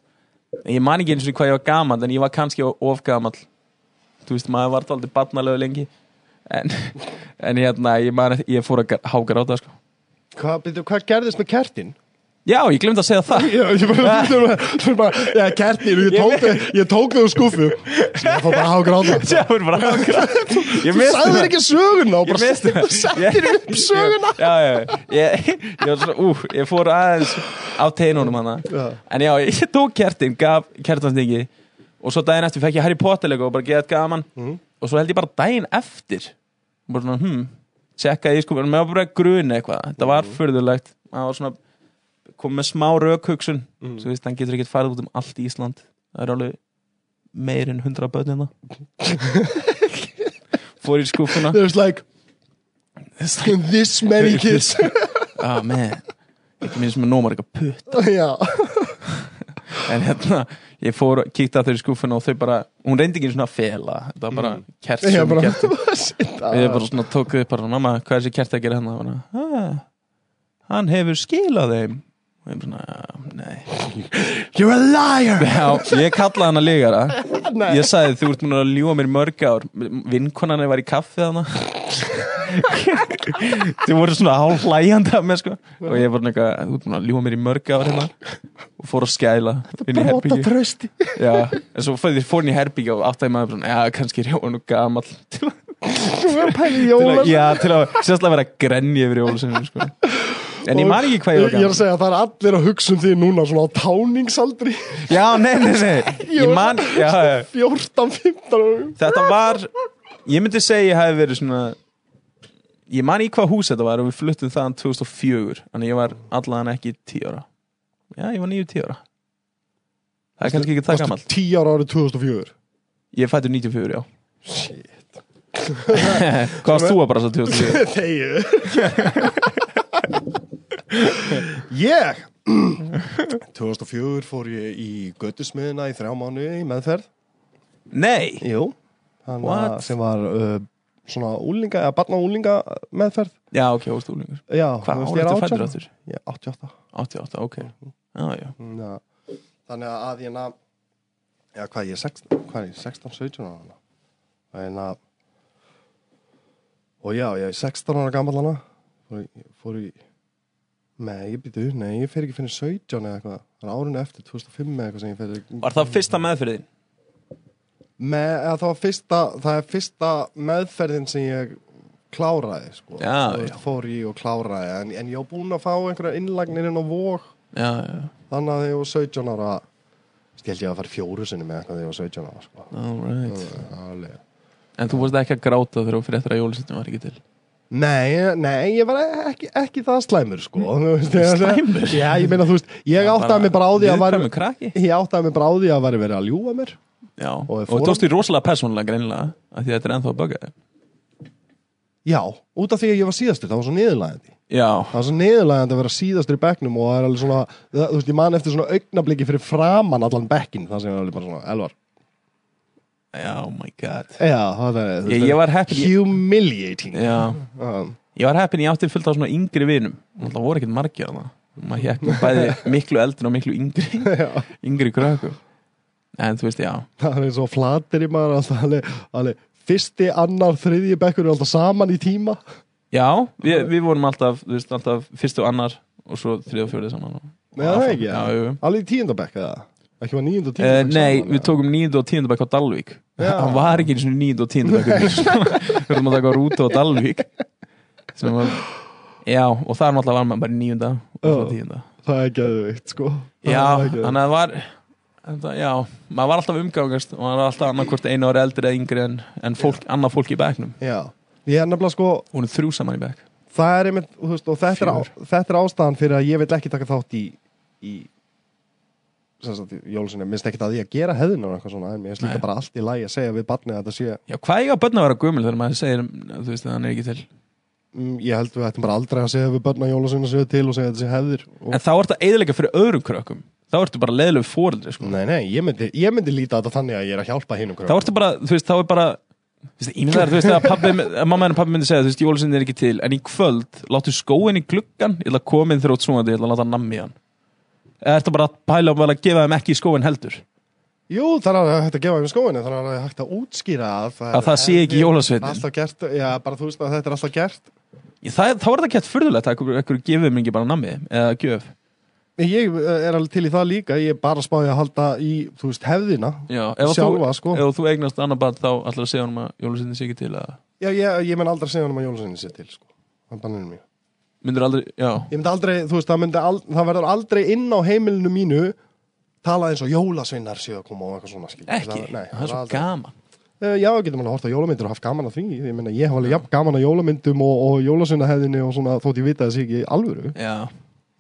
Ég man ekki eins og hvað ég var gaman En ég var kannski ofgamal Þú veist, maður var aldrei barnalegu lengi En, en hérna, ég, man, ég fór að hágar á það sko. Hva, byrju, hvað gerðist með kertin? Já, ég glemt að segja það Já, ég bara, Ah. þú veist bara, já, kertin, ég tók, ég, ég tók þau úr skúfu. Ég fór bara að hafa gráta. Já, ég bara hágar á Ég Þú sagði þér ekki söguna og Ég bara misti það. settir upp söguna. Já, já, já. ég, ég, var svona, ú, ég fór aðeins á teinunum hana Já. En já, ég tók kertin, gaf kertansningi Og svo daginn eftir fekk ég Harry Potter Lego og bara geðað gaman Og svo held ég bara daginn eftir Bara svona, hm, tjekkaði ég sko Mér var bara grun eitthvað, þetta var furðulegt Það var svona, kom með smá rökhugsun Svo veist, hann getur ekkert farið út um allt í Ísland Það er alveg meir en hundra bönnina Fór í skúfuna There's like, this many kids. Ah, man Ekki minnst með nómar eitthvað putt já, En hérna, ég fór og kíkti að þau í skúfuna og þau bara, hún reyndi ekki svona að fela Þetta var bara kert já, sem bara, kert shit. ah. Við bara svona tókuð upp bara, mamma, hvað er þessi kert að gera hérna? Og Bara, ah, hann hefur skilað þeim Og ég bara svona, "Ah, You're a liar. nei Já, ég kallaði hana lígara Nei. Ég sagði, þú ert múin að ljúa mér í mörg ár Vinkonanir var í kaffið hana Þau voru svona hálf hlæjandi af mér sko Og ég var eitthvað, þú ert múin að ljúa mér í mörg ár hérna Og fór að skæla inn í Brota herbyggju trösti. Já, en svo fór ég fór hann í herbyggja og áttaði maður svona, já, kannski er Jóhann og gamall til að, Þú verður pæli til að, jóla. já, til að sérstaklega vera grenni yfir Jóhann sko. En ég man ekki hvað ég var Ég er að gamall segja að það er allir að hugsa um því núna svona á táningsaldri. Já, nei, nei, nei, ég man, já, já. 14, 15 árum. þetta var Ég myndi segja ég hef verið svona Ég man í hvað hús þetta var og við fluttum þaðan 2004 Þannig ég var allan ekki 10 ára Já, ég var 9-10 ára Það er kannski ekki það gamall Varstu 10 ára árið 2004 Ég fættur 94, já Shit Hvað varst þú að bara svo 2004? Þegið Ég 2004 fór ég í göttusmiðina í þrjá mánu í meðferð Nei, Jú Hann What? að- sem var uh, svona úlinga, eða barna og úlinga meðferð já ok, óstu úlingur Já, Hvað þú veist, ég árið er þú 18. fættur áttur? Ég er 88 88, ok Mm. Já, já, Já. Hérna, Þannig að ég nafn Já, hvað ég er 16, hvað er ég, 16, 17 ára Það er nafn Og já, ég er 16 ára gammal hana Fór í, fór í Nei, ég býtu, nei, ég fer ekki fyrir 17 eða eitthvað Það er árinu eftir, 2005 eða eitthvað sem ég fer var það fyrsta meðfyrir þín? Með, eða það var fyrsta, það er fyrsta meðferðin sem ég kláraði, sko Já, Þú veist, já. Fór í og kláraði, en, en ég var búinn að fá einhverja innlagnir inn á vók Já, já, já, Þannig að þegar ég var 17 ára Ég held ég að fara fjóru sinni með eitthvað þegar ég var 17 ára sko. alright Alveg. En þú varst ekki að gráta þegar þú fyrir eftir að jólusettum var ekki til Nei, nei, ég var ekki, ekki það slæmur sko. Þú veist, ég- Slæmur? Já, ég meina þú veist Ég áttaði mig bara á því að var Viðkvæmur krakki Ég áttaði mig bara á því að væri verið að ljúga mér Já, Og og er þú tókst því rosalega persónulega greinilega af Því að þetta er ennþá að bugga þig Já, út af því að ég var síðastur Það var svo niðurlægandi Já, Það var svo niðurlægandi að vera síðastur í bekknum Og það er alveg svona, það, þú veist, ég man eftir svona augnabliki fyrir framan allan bekkin Það sem er alveg bara svona, elvar já, oh my god Já, það er, þú Ég, veist, ég var heppin ég, humiliating já, um, ég var heppin, ég átti fullt á svona yngri vinum Það voru ekkert margir þarna Maður hekk með bæði miklu eldri og miklu yngri Já Yngri krökkum En þú veist, já það er eins og flatir í maður alltaf alveg, alveg fyrsti, annar, þriðji bekkur er alltaf saman í tíma Já, við, við vorum alltaf, þú veist, alltaf fyrst og annar Og svo þrið og fjórið saman og, Nei, það er ekki, Já, jú, jú alveg í tíundabekk eða ekki var níund og tíunda Uh, bekk nei, saman, við eða? tókum nýjöndu og tíundabæk á Dalvík Já. Hann var ekki eins og nýjöndu og tíundabæk Við höfum að taka rúta á Dalvík sem var Já, og þar náttúrulega var maður bara nýjönda og svo Já. tíunda það er geðvikt sko Það Já, er geðveikt. þannig að það var þetta, Já, maður var alltaf umgangast og maður var alltaf annarkvort einu ári eldri eða yngri en, en fólk, annað fólk í bæknum já, ég er nefnilega sko Hún er þrjú saman í bæk það er einmitt, þú veist, og þetta er, á, þetta er ástæðan fyrir að ég vil ekki taka þátt í í sem sagt, Jólusinni, minnst ekki að því að gera hefðina og eitthvað svona, en mér er Nei. slíka bara allt í lagi að segja við barnið að þetta sé, Já, hvað ég á börn að vera gömul þegar maður segir þú veist, að hann er ekki til mm, ég held við ættum bara aldrei að segja við barnið að Jólusinni séu til og segja að þetta sé hefðir og En þá ertu að eðilega fyrir öðrum krökkum Þá ertu bara leðilegu fóreldri sko. Nei, nei, ég myndi, ég myndi líta þetta þannig að ég er að hjálpa hinum þá ertu bara, þú veist, þá er bara þú veist, ímyndaður, þú veist, að, pabbi, að mamma hennar pabbi myndi segja, þú veist, jólusinni er ekki til en í kvöld, láttu skóin í gluggan ég ætla að koma inn þrótt svonandi, ég ætla að láta nammi hann eða ertu bara að pæla um að gefa þeim ekki skóin heldur, Jú, það er hægt að gefa um skóinu, þannig að það er hægt að útskýra að það, Að það sé ekki hefðir, jólasveinninn. Alltaf gert, já, bara þú veist að þetta er alltaf gert ég, það, þá er það kætt fyrðulegt að ekkur, ekkur gefið þeim ekki bara nammi eða gjöf, Ég eh, er alveg til í það líka, ég er bara spáði að halda í, þú veist, hefðina já, ef að Sjálfa, þú, sko. ef þú eignast annar barn þá ætlar að segja honum að jólusinni sé ekki til að Já, ég, ég menn aldrei segja hann um að jólasinni sé til, sko Hann bannir mér myndur aldrei, já, Ég myndi aldrei, þú veist, það, myndi al, það verður aldrei inn á heimilinu mínu talað eins og jólasveinar séu að koma og eitthvað svona skil ekki, það, nei, það er svo aldrei- gaman Eh, Já, getur maður að horta á jólamyndir og haft gaman að því Ég meina, ég hef alveg jafn gaman að jólamyndum og, og jólasunahefðinni og svona þótt ég vita þessi ekki í alvöru já,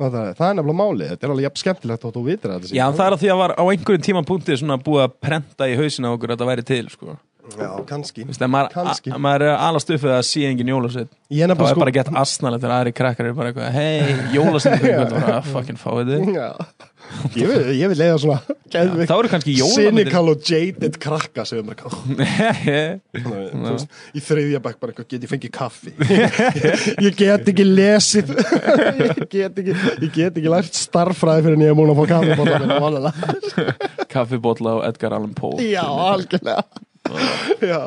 Það er, það er nefnilega málið, þetta er alveg jafn skemmtilegt þótt þú vitir þetta sé já ekki það er að því að var á einhverjum tímapunkti svona búið að prenta í hausina á okkur að það væri til, sko alvöru. Já, kannski Þú veist, ef maður, Kannski. a- maður er alast upp við að sé engin jólasveit Ég er þá nefnilega er sko bara gett asnalegt þegar aðri krakkar eru bara eitthvað hei, jólasveit bara, fucking fáið þið Já. Ég vil, ég vil leiða svona þá eru kannski jólamyndir Cynical og jaded krakka sem er bara Þú veist, Í þriðja bekk bara eitthvað, get ég fengið kaffi Ég get ekki lesið Ég get ekki, ég get ekki lært starffræði fyrir en ég er múin að fá kaffi bara minna vanlega kaffibótla og Edgar Allan Poe Já, algjörlega Já,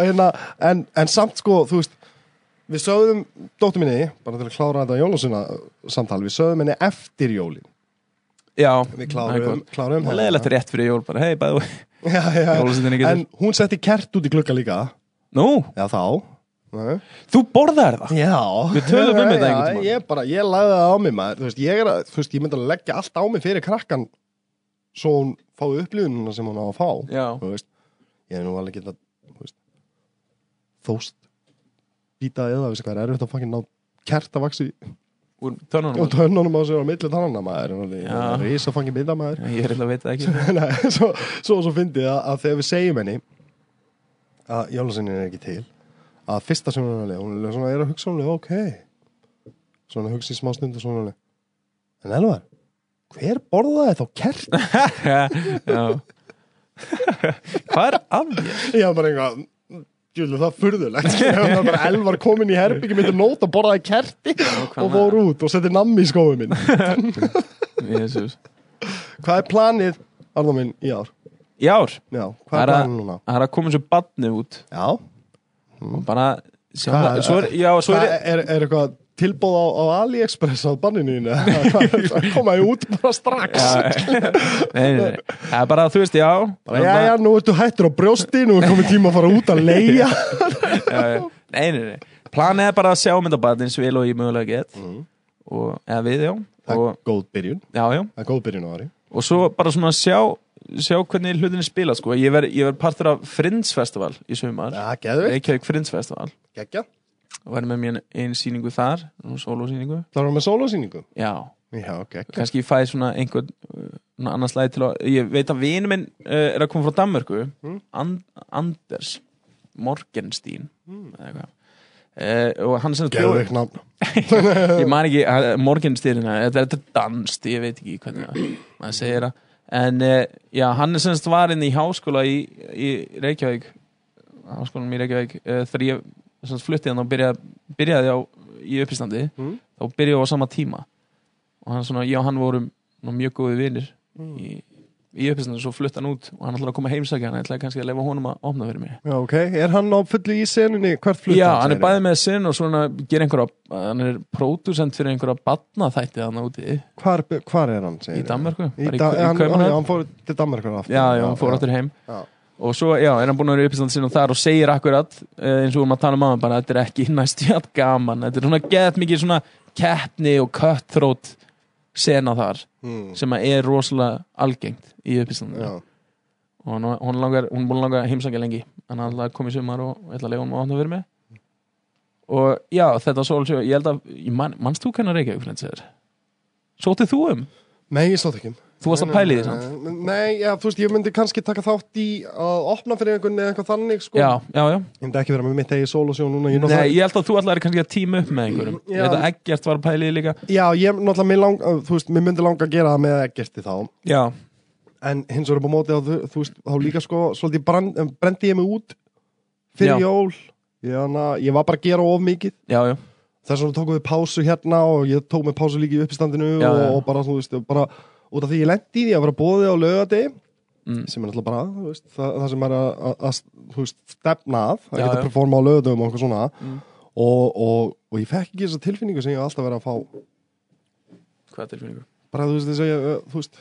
hérna, en, en samt sko, þú veist Við sögðum, dóttur minni, bara til að klára þetta jólasuna samtal Við sögðum henni eftir jólin já, Við klárum, klárum og leðilegt rétt fyrir jól bara, hei, bæðu Já, já, Jólasveinninn er ekki en hún setti kert út í glugga líka nú, Já, þá Nei. þú borðar það Já Við tölum um þetta einhvern tímann. Já, ég bara, ég lagði það á mig maður Þú veist, ég er að, þú veist, ég myndi að leggja allt á mig fyrir krakkan Svo hún fái upplifunina sem hún á að fá já, þú veist, ég er nú alveg geta þú veist, þóst býta eða þessi hvað er erfitt að fangin ná kert að vaxi úr og törnunum tönnunum á sig á milli tannana maður og Já. það er risa fangin miða maður ég er eitthvað að veita ekki Nei, svo, svo, svo fyndið að, að þegar við segjum henni að jólasennin er ekki til að fyrsta sem hún er að lega, hún er svona er að hugsa hún ok svona hugsa í smá stund og svona alveg, en Elvar hver borðaði þá kert? Já. hvað er af ég? Já, bara einhvað Júli, það er furðulegt skilur, það er bara Elvar komin í herbyggi myndi nóta borðaði kerti og með- fór út og setti nammi í skóið minn Jesús. Hvað er planið, Arnó minn, í ár? í ár Já, hvað það er er að, planið núna? það er að koma eins og badni út Já, og bara sjá Hvað það er- svo er, já, svo Hvað er, er, er eitthvað tilbóð á, á AliExpress á banninu þínu? Hvað- hvað- koma ég út bara strax Já, hérna- nei, nei, nei. Það er bara þú veist, já bara, já, já, nú ertu hættur á brjósti nú er komið tíma að fara út að leia já. Nei, nei, nei Planið er bara að sjá myndabadin svil og ég mögulega get Mhm. og, eða við, já það og, er góð byrjun, já, já. það er góð byrjun á ári og svo bara svona sjá sjá hvernig hlutinni spila, sko Ég verð ver partur af Friends Festival í sumar já, geðvig, Reykjavík Friends Festival geggja og verði með mér einn sýningu þar sólósýningu, það var með sólásýningu já já, geggja, kannski ég fæði svona einhvern uh, svona annars lagi til að, ég veit að vinu minn uh, er að koma frá Danmörku And, Anders Morgenstein eða eitthvað uh, og hann sem sagt bjó- geðvig nafn ég man ekki, uh, Morgenstein þetta er þetta er danst, ég veit ekki hvernig það- maður segir það en uh, já, hann er sem sagt var inn í háskóla í, í Reykjavík háskólanum í Reykjavík uh, þegar ég sem sagt flutti hann og byrja, byrjaði á, í uppistandi Mm. þá byrjaði á sama tíma og hann svona, ég og hann vorum nú mjög góði vinir Hmm. í, í uppistandi svo flutti hann út og hann ætlaði að koma heimsækja hann ætlaði kannski að lefa honum að opna fyrir mig já, ok, er hann á fullu í senunni hvert flutt Já, hann er bæði með sinn og svona gera einhverja, hann er pródusent fyrir einhverja batnaþætti þannig úti hvar, hvar er hann, segir í Danmarku, í, bara í, da, Kau- í hann, hann, Kaupmannahöfn hann fór til Danmarkur aftur Já, já, hann fór áttur heim já. og svo, já, er hann búin að vera uppistand sinna þar og segir akkurat, eh, eins og við erum að tala um aðan bara, þetta er ekki næstu jafn gaman þetta er svona gett mikið svona keppni og cutthroat sena þar Mm. sem að er rosalega algengt í uppistandinu já. og hann, hún langar, hún er búin að langa að heimsækja lengi hann er alltaf komið sumar og ætla að lega hún að opna fyrir mig og já, þetta sólsjó ég held að, ég man, manst þú hvernig Reykjavík Friends er? Sótið þú um? nei, ég stóð ekki Þú varst að pæla í því samt? Nei, já, þú veist, ég myndi kannski taka þátt í að opna fyrir einhvern eða eitthvað þannig, sko. Já, já, já Ég myndi ekki vera með mitt eigi sólusjón núna. Nei, Ég náttúrulega- ég held að þú allar er kannski að tíma upp með einhverjum Já. Ég held að Eggert var að pæla í því líka Já, ég náttúrulega, mér lang, þú veist, mér myndi langa að gera það með ekkerti þá. Já, En hins vegar upp á móti á, þú, þú veist, þá líka, sko, svolítið brand, em, brendi ég mig út fyrir Já. jól. Ég, hana, ég var bara að gera of mikið. já, já, Þess vegna tókum við pásu hérna og ég tók mig pásu líka í uppstandinu Já, og, já. og bara, þú veist, og bara út af því ég lendi í því að vera bóðið á lögadegi Mm. sem er alltaf bara, þú veist, það, það sem er að, að, að þú veist, stefna að, að Já, geta já. performa á lögadöfum og eitthvað svona Mm. og, og, og ég fekk ekki þessa tilfinningu sem ég hef alltaf verið að fá hvað tilfinningu? bara, þú veist, þess að ég, eh, þú veist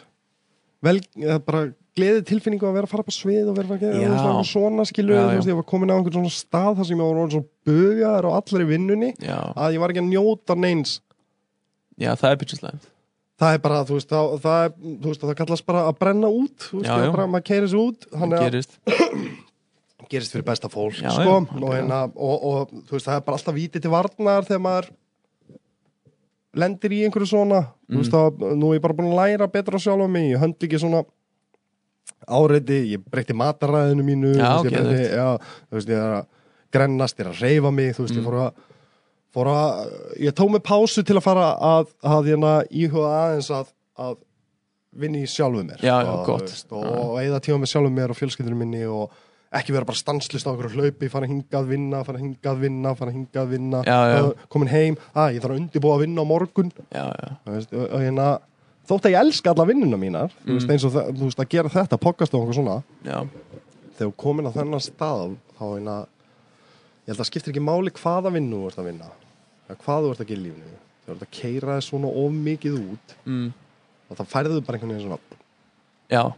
vel, eh, bara gleði tilfinningu að vera að fara upp á svið og vera að gera Já. þú veist, eitthvað svona skilu, Já, þú já. veist, ég var komin á einhvern svona stað þar sem ég var orðin svo bugaður á allri vinnunni Já, að ég var ekki að njóta neins já, það er byrjuslega Það er bara, þú veist, það, það, er- þú veist, það kallast bara að brenna út, þú veist, Já, það er já. bara, maður keirir sér út, þannig að Gerist, gerist fyrir besta fólk Já, sko, já, og, hérna, og, og þú veist það er bara alltaf vítið til varnar þegar maður lendir í einhverju svona þú Mm. veist það, nú er ég bara búin að læra betra sjálf á mig, ég hönd ekki svona áreiti, ég breyti mataræðinu mínu, Já, þú veist, ég geðveikt. breyti já, þú veist, ég er að grennast, ég er að reyfa mig, þú veist, Mm. ég fór að fór að, ég tók mig pásu til að fara að, að hérna, íhuga aðeins að, að vinni í sjálfu mér Já, já, sko, þú gott. veist, og, og eigða tíma með sjálfu mér og fjölskyldinu minni og ekki vera bara stanslist á einhverju hlaupi fara hingað vinna, fara hingað vinna fara hingað vinna, Já, já. Þá komin heim að ég þarf að undibúa að vinna á morgun já, já Þú veist, og, og hérna, þótt að ég elska alla vinnuna mínar þú Mm. veist, eins og það, þú veist, að gera þetta, pokast og einhver svona Já, þegar þú komin á þennan stað þá hérna, ég held að skiptir ekki máli hvaða vinnu þú ert að vinna eða hvað þú ert að gera í lífinu þegar þú ert að keira þess svona of mikið út mm, og það færðu bara einhvern veginn svona já,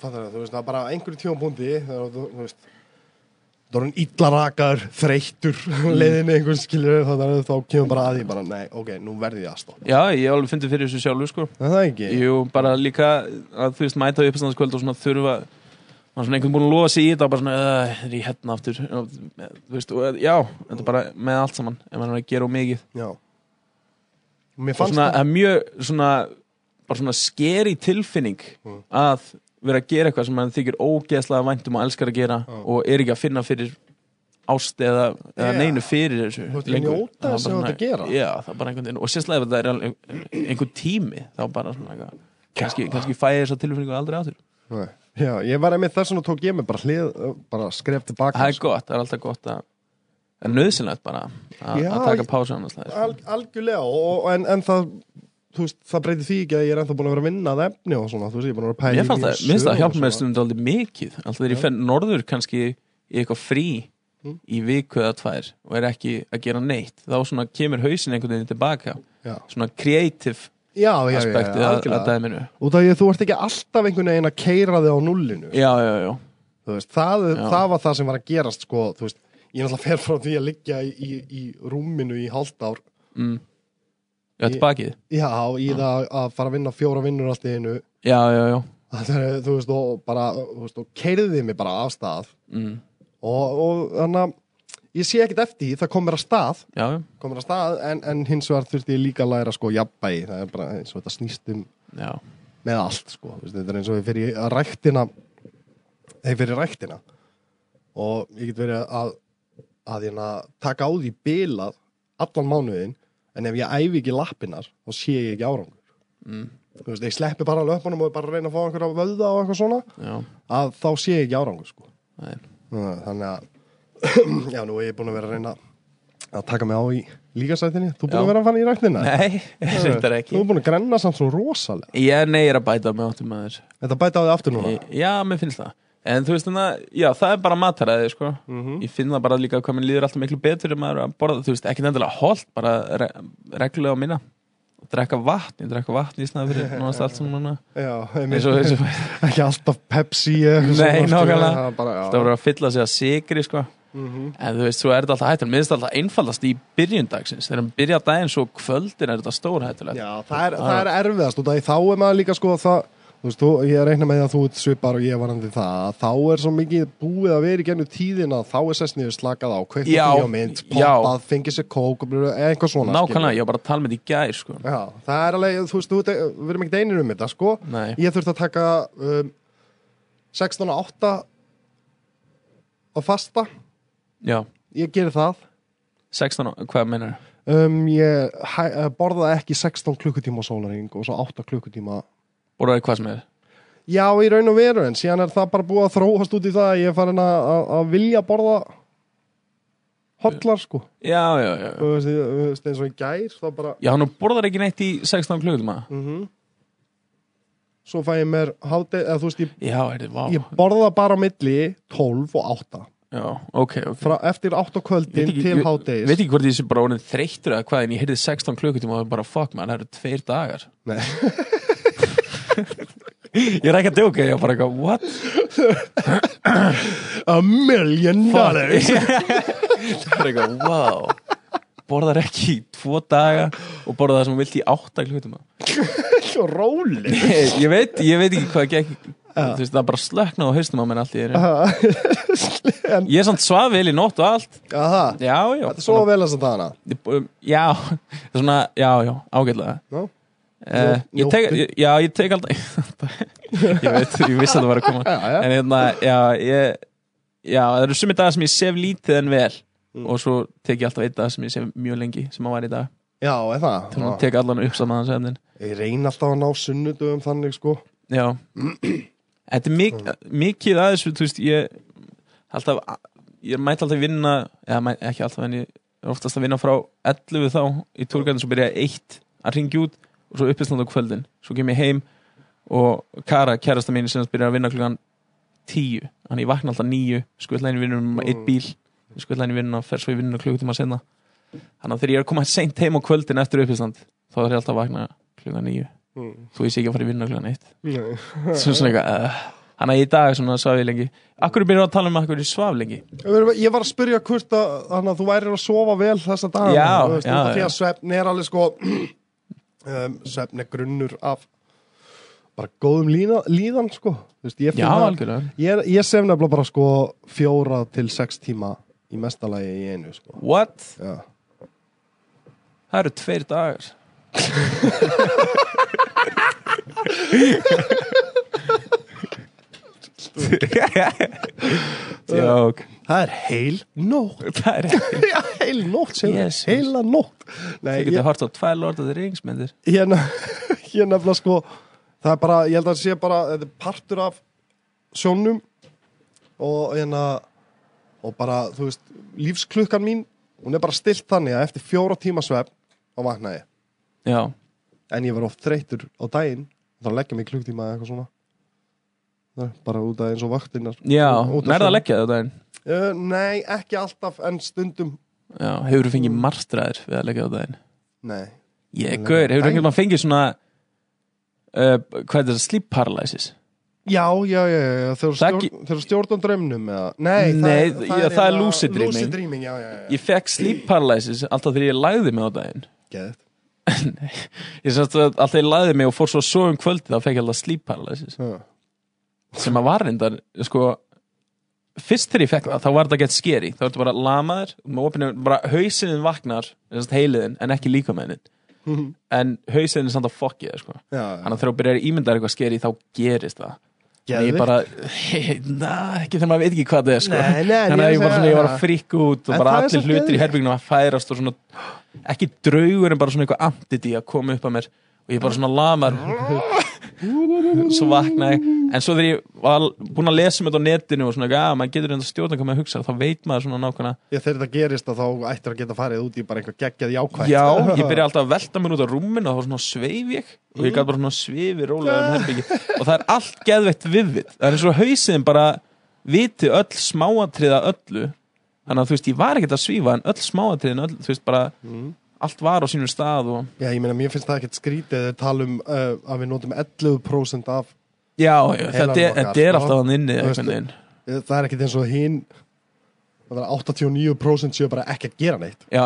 Fattar það, þú veist, það er bara á einhverju tímapunkti þegar þú, þú veist þú erum illarakaður, þreyttur Mm. leiðinni einhvern skilur þannig að þá kemur bara að því bara, nei, ok, nú verði ég að stoppa já, ég alveg fyndi fyrir þessu sjálfur sko Er það ekki? Jú, bara líka að þú veist mæta uppstandskvöld og svona þurfa var svona einhvern búinn að lofa sig í þetta og bara svona, "Ugh, er ég hérna aftur og, þú veist, og, já, þetta er bara með allt saman ef maður er að gera og mikið já mér og fannst svona, það það er mjög svona, bara svona skeri tilfinning Mm. að vera að gera eitthvað sem maður þykir ógeðslega væntum og elskar að gera Já. og er ekki að finna fyrir ást eða, eða Mm. Já. neinu fyrir þessu Þú ert að lengur. njóta Það er þess bara sem þú ert að svona- gera. já, það er bara einhvern veginn og sérslega ef það er alveg- einhver tími þá bara svona eitthvað kannski, kannski fæ ég þess að tilfinningu aldrei áttur Nei. já, ég var einmitt þess vegna tók ég mig bara hlið bara skref sko. tilbaka það er gott, það er alltaf gott að það er nöðsynlegt bara að Já, að taka ég- pásu annars það Al, algjörlega og, og- en, en það þú veist, það breytir því ekki að ég er ennþá búin að vera að vinna að efni og svona, þú veist, ég er búin að vera að pæla Mér fannst í það, mjög mér finnst það sögu og hjálpa mér svona. stundum aldrei mikið Alltaf þegar ég Já. fenn norður kannski í eitthvað frí Mm. í viku eða tvær og er ekki að gera neitt þá svona kemur hausin einhvern veginn tilbaka já, svona creative já, já, já, já, aspekti að, að algjörlega dæminu og það ég, þú ert ekki alltaf einhvern veginn að keira þig á nullinu Já, já, já, þú veist, það, Já. það var það sem var að gerast sko, þú veist, ég náttúrulega fer frá því að liggja í, í, í rúminu í hálft ár mm. Já, Ég- tilbakið já, í það að fara að vinna fjóra vinnur allt í einu Já, já, já það er, þú veist, og bara þú veist, og keiriði mig bara af stað mm. og, og þannig að ég sé ekkert eftir því, það kom mér að stað Já, já, kom mér að stað, en, en hins vegar þurfti ég líka að læra sko jafnbæði, það er bara eins og þetta snýst um já, með allt sko, Þú veist, þetta er eins og ég fyrir í- að ræktina þeir fyrir ræktina og ég get verið að að ég taka á því bilað allan mánuðin, en ef ég æfi ekki lappinar, þá sé ég ekki árangur Mm. þú veist, ég sleppi bara löpunum og bara reyna að fá einhverja vöða og eitthvað svona já. að þá sé ég ekki árangur sko Nei. Nú, þannig að já, nú er ég búin að vera að reyna að taka mig á í líkasætinni þú er búin Já. að vera að fara í ræktina Nei, þetta er þú ekki er búin að grenna samt svo rosalega Ég nei, ég er að bæta með áttum að þér þetta bæta á því aftur núna Ég- Já, mér finnst það En þú veist þannig að, já, það er bara mataræði, sko Mhm. Ég finn það bara líka hvað mér líður alltaf miklu betur ef maður er að borða, þú veist, ekki nefnilega holt bara re reglulega á minna og drekka vatn, ég drekka vatn í snæða fyrir nánast allt sem núna já, eins einmitt, og þessu ekki alltaf Pepsi eða eitthvað Nei, svona, sko, nákvæmlega. það er bara, já. Það voru að fylla sig að sigri, sko Mhm. En þú veist, svo er þetta alltaf hættulegt Mér finnst þetta alltaf einfaldast í byrjundagsins Þegar hann byrja daginn svo á kvöldin er þetta stór hættulegt já, það, er, það er erfiðast og það, þá er maður líka sko það Þú veist, þú, ég reikna með því að þú ert svipar og ég varandi það að þá er svo mikið búið að vera í gennum tíðina þá er sess niður slakað á kveikt Já, á bíómynd, já. poppað, fengið sér kók og blöð, eitthvað svona skilurðu. Nákvæmlega, ég var bara að tala með þetta í gær, sko Já, það er alveg, þú veist, þú, ert- við erum ekkert einir um þetta, sko. Nei, Ég þurfti að taka um, 16 og 8 og fasta, já, ég geri það. 16, á- hvað meinar Um, ég hæ, eh, borða ekki 16 klukkutíma sólaring og svo 8 klukkutíma. Borðaði hvað sem er Já, í raun og veru, en síðan er það bara búið að þróast út í það að ég er farin að- að að vilja borða hotlar, sko. Já, já, já, já Þú veist, ég- þú veist, eins og í gær, þá bara... Já, hann borðar ekki neitt í 16 klukkutíma Mm Svo fæ ég mér hátið, eða þú veist, ég, Já, þetta er vá ég borða bara á milli 12 og 8. Já, ok, ok frá, eftir 8 kvöldin til ég, veit hádegis ekki hvort ég sé bara orðin þreyttur eða hvað en ég heyrði 16 klukkutíma og það er bara fuck man, það eru tveir dagar Nei. Ég er ekki að djóka, ég er bara eitthvað, what? a million dollars Það er eitthvað, wow Borðar ekki í tvo daga og borðar það sem hún vilt í átta klukkutíma svo róli ég, ég veit, ég veit ekki hvað gekk Þú veist, það bara slökna á haustum á menn allt í þeirri en, Ég er samt svaf vel í nótt og allt aha, Já, já þetta er svo vel að sem það hana Um, Já, það er svona, já, já, ágætlega Já. Eh, ég Njóttu. tek, ég- Já, ég tek aldrei Ég veit, ég vissi að það var að koma já, já, En hérna, já, ég Já, það eru sumi dagar sem ég sef lítið en vel Mm. Og svo tek ég alltaf einn dag sem ég sef mjög lengi Sem að var í dag já, er það Þannig að Já. tek allan upp saman hans efnin ég reyna alltaf að ná sunnudum þannig sko Já Þetta er mik mikið aðeins Þú veist, ég alltaf, Ég mæti alltaf vinna eða mæ, ekki alltaf en ég er oftast að vinna frá 11 þá í túrgarðin svo byrja ég eitt að ringja út og svo uppisland á kvöldin svo kem ég heim og Kara, kærasta mín sem sagt byrjar að vinna klukkan 10, þannig ég vakna alltaf 9 skvöldlæðin í vinnunum um eitt bíl skvöldlæðin í vinnunum og fer svo í vinnunum klukkutíma senna þannig að þegar ég er að koma seint heim á kvöldin eftir uppisland, þá er ég alltaf að vakna klukkan 9, Mm. þú ég sé ekki að fara í vinna klukkan 1 Nei. svo svona eitthvað uh, hann að í dag svona svaf ég lengi akkur byrjar að tala um akkur ég svaf lengi ég var að spyrja hvort að þannig að þú værir að sofa vel þessa dag Já, þú veist, já, út af því já. að svefn er alveg sko um, svefn er grunnur af bara góðum lína, líðan sko Þú veist, ég, finn Já, það- algjörlega ég, ég sef nefnilega bara sko fjóra til sex tíma í mestalagi í einu sko What? Já. Það eru tveir dagar Jók það er heil nótt Það er ekki Já, heil nótt, sem Jesus. heila nótt Nei, Ég geti hort á tvær Lord of the Rings myndir ég, nef- Hérna, ég nefnilega sko það er bara, ég held að það sé bara þetta er partur af sjónum og hérna og bara, þú veist, lífsklukkan mín hún er bara stilt þannig að eftir fjóra tíma svefn þá vakna ég Já, en ég var oft þreytur á daginn þá leggja mig klukktíma eða eitthvað svona Nei, bara út af eins og vaktinnar já, Út af nærða sjónum. að leggja þetta einn uh, Nei, ekki alltaf en stundum Já, hefur þú fengið marstræðir við að leggja þetta einn Nei, Ég, gaur, hefur þú einhvern veginn fengið svona uh, Hvað er þetta, sleep paralysis? Já, já, já, já, já, þegar Það stjórn, ekki- þeir stjórnum draumnum eða Nei, Nei, já, það er hérna lucid dreaming. Lucid dreaming, já, já, já Ég fekk sleep paralysis alltaf þegar ég lagði mig á daginn Geðið Ég sem sagt að alltaf ég lagði mig og fór svo að sofa um kvöldi þá fekk ég alltaf sleep paralysis sem að var reyndar sko, fyrst þegar ég fekk það þá var þetta gett skeri, þá ertu bara lamaður með opinu, bara hausiðin vaknar sem sagt heiliðin en ekki líkamæðin Mhm. en hausiðin er samt að fokkið sko. Já, þannig að þegar þú byrjar að ímynda þér eitthvað skeri þá gerist það En ég Geðveikt. bara, na, ekki þegar maður veit ekki hvað það er sko. Nei, nei, en þannig að ég ég bara, segi- svona, ég var að frík út og En bara það er allir svo hlutir í geðveikt. herbyggnum að færast og svona, ekki draugur en bara svona eitthvað antiti að koma upp að mér og ég bara svona lamar svo vaknaði en svo þegar ég var búin að lesa um þetta á netinu og svona, já, maður getur reynda að stjórna hvað maður hugsa þá veit maður svona nákvæmna já þegar þetta gerist að þá ættir að geta farið út í bara einhver geggjað jákvæmt Já, ég byrja alltaf að velta mér út á rúminu og þá svona sveif ég og ég gæti bara svona sveifi rólega um herbyggi og það er allt geðveitt viðvitt það er eins og hausin bara viti öll smáatriða öllu þannig að þú veist, ég var ekkert að svífa en öll smáatriðin öll, þú veist, bara allt var á sínum stað og Já, ég meina, mér finnst það ekkert skrítið þegar tala um uh, að við notum 11% af já, já Heilan þetta er, okkar, þetta er sko. alltaf hann inni Þú veist, einhvern veginn eh, það er ekkert eins og hinn það er 89% séu bara ekki að gera neitt já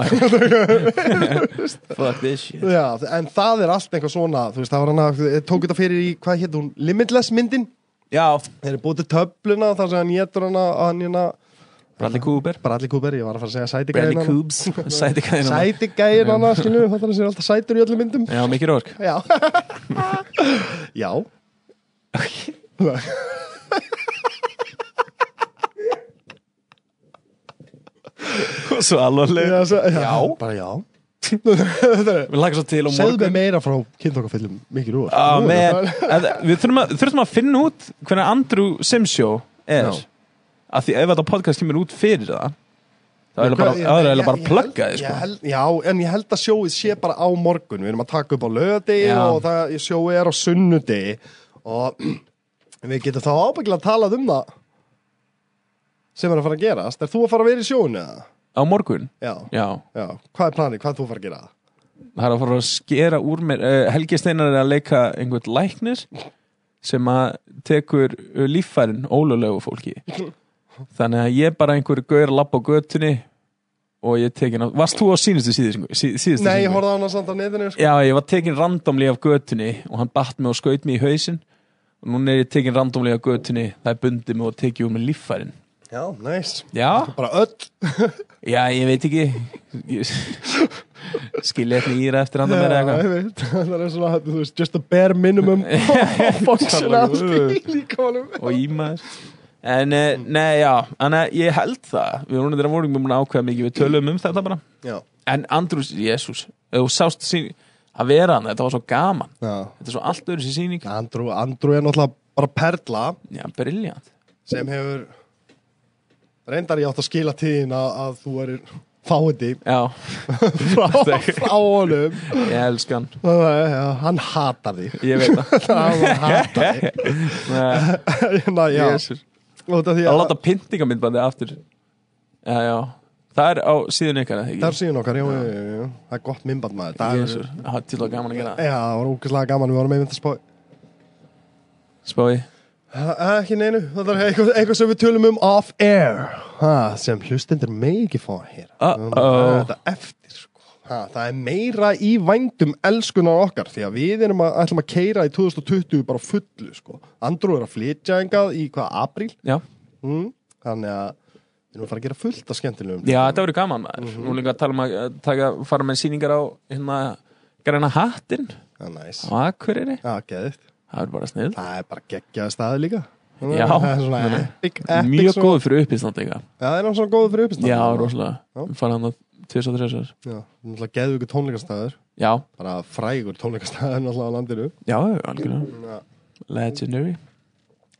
fuck this shit Já, en það er allt eitthvað svona þú veist, það var hann að, eh, tók þetta fyrir í, hvað hétt hún Limitless myndin, já, þeir eru búið til töfluna þar sem hann getur hann að hann hérna Bradley Cooper Bradley Cooper, ég var að fara að segja sætigæðin Bradley hérna. Coobs, sæti kæðina Sætigæðin hann að skilu, það er alltaf sætur í öllum myndum já, mikið rork Já Já svo alvarleg Já, svo, já. bara já við lakar svo til og Segðu morgun mig meira frá kynntokafillum mikið rúar Ah, man, En við þurfum að, þurfum að finna út hvernig Andrew Simsjó er Já. af því ef þetta podcast kemur út fyrir það þá er það bara, Ég- það er eiginlega ég- bara ég að plugga held- þið ég sko. held- Já, en ég held að sjóið sé bara á morgun Við erum að taka upp á lögadegi Já. og það, sjóið er á sunnudegi og við getum þá ábyggilega talað um það sem er að fara að gerast Er þú að fara að vera í sjóinu eða? á morgun, Já, já já, hvað er planið, hvað er þú að fara að gera? það er að fara að skera úr mér uh, Helgi Steinar er að leika einhvern læknir sem að tekur uh, líffærin ólulegu fólki þannig að ég er bara einhver gaur að labba á götunni og ég tekin á, varst þú á sínustu síðustu, síðustu Nei, ég sýningu? horfði á hana samt á netinu sko. Já, ég var tekin randomlega af götunni og hann batt mig og skaut mig í hausinn og núna er ég tekin randomlega af götunni það er bundið mig og tekið úr mig líffærin Já, næs Já, Bara öll já, ég veit ekki Ég- skilja eitthvað íra eftir andan mér Já, eða ég veit, Það er svona, þú veist, just a bare minimum Functionality í líkamanum eitthvað og ímaður En, eh, nei, já, en eh, ég held það Við erum þeirra vorum búin að ákveða mikið Við töluðum um þetta bara Já, En Andrús, jésús, þú sást sín að vera hann, þetta var svo gaman já Þetta er svo allt öðru sér sýning Andrew, Andrew er náttúrulega bara perla Já, briljant sem hefur reyndar ég átt að skila tíðin að, að þú erir fáiði Já, frá, frá honum ég elska hann Það er- já, hann hatar þig Ég veit það hann hatar þig Nei, Ná, já, Jesús. út af því að að láta pyntingamindbandi aftur já, já. það er á síðun ykkar eða það ekki? er síðan okkar, já, já, já, já, það er gott minnband maður það er- Jesús, það er til og gaman að gera það. Já, það var ógeðslega gaman, við vorum einmitt að spá spái, Eh, Ekki neinu, það er eitthvað, eitthvað sem við tölum um off-air ha, sem hlustendur megi ekki fá að heyra Uh-oh. oh. Við verðum að ræða Þetta eftir, sko Ha, það er meira í vændum elskunar okkar því að við erum að, ætlum að keira í 2020 bara á fullu sko. Andrú er að flytja engað í hvað, apríl? Já, Mm, þannig að við erum að fara að gera fullt af skemmtilegum. já þetta verður gaman maður. Mhm. Nú líka að tala um að eh, taka, fara með sýningar á hérna græna hattinn Já, næs. á Akureyri Ah, Já, geðið. Það verður bara snill Það er bara geggjaði staði líka. Já. Það er svona epic, epic. Mjög svona- góð fyrir uppistand líka Já, það er hann svona góð fyrir uppistand. Já, rosalega Fara hann að tvis og þrjusar Já, náttúrulega geðu ykkur tónleikastæður. Já, Bara frægur tónleikastæður náttúrulega á landinu. já, algjörlega Já. Legendary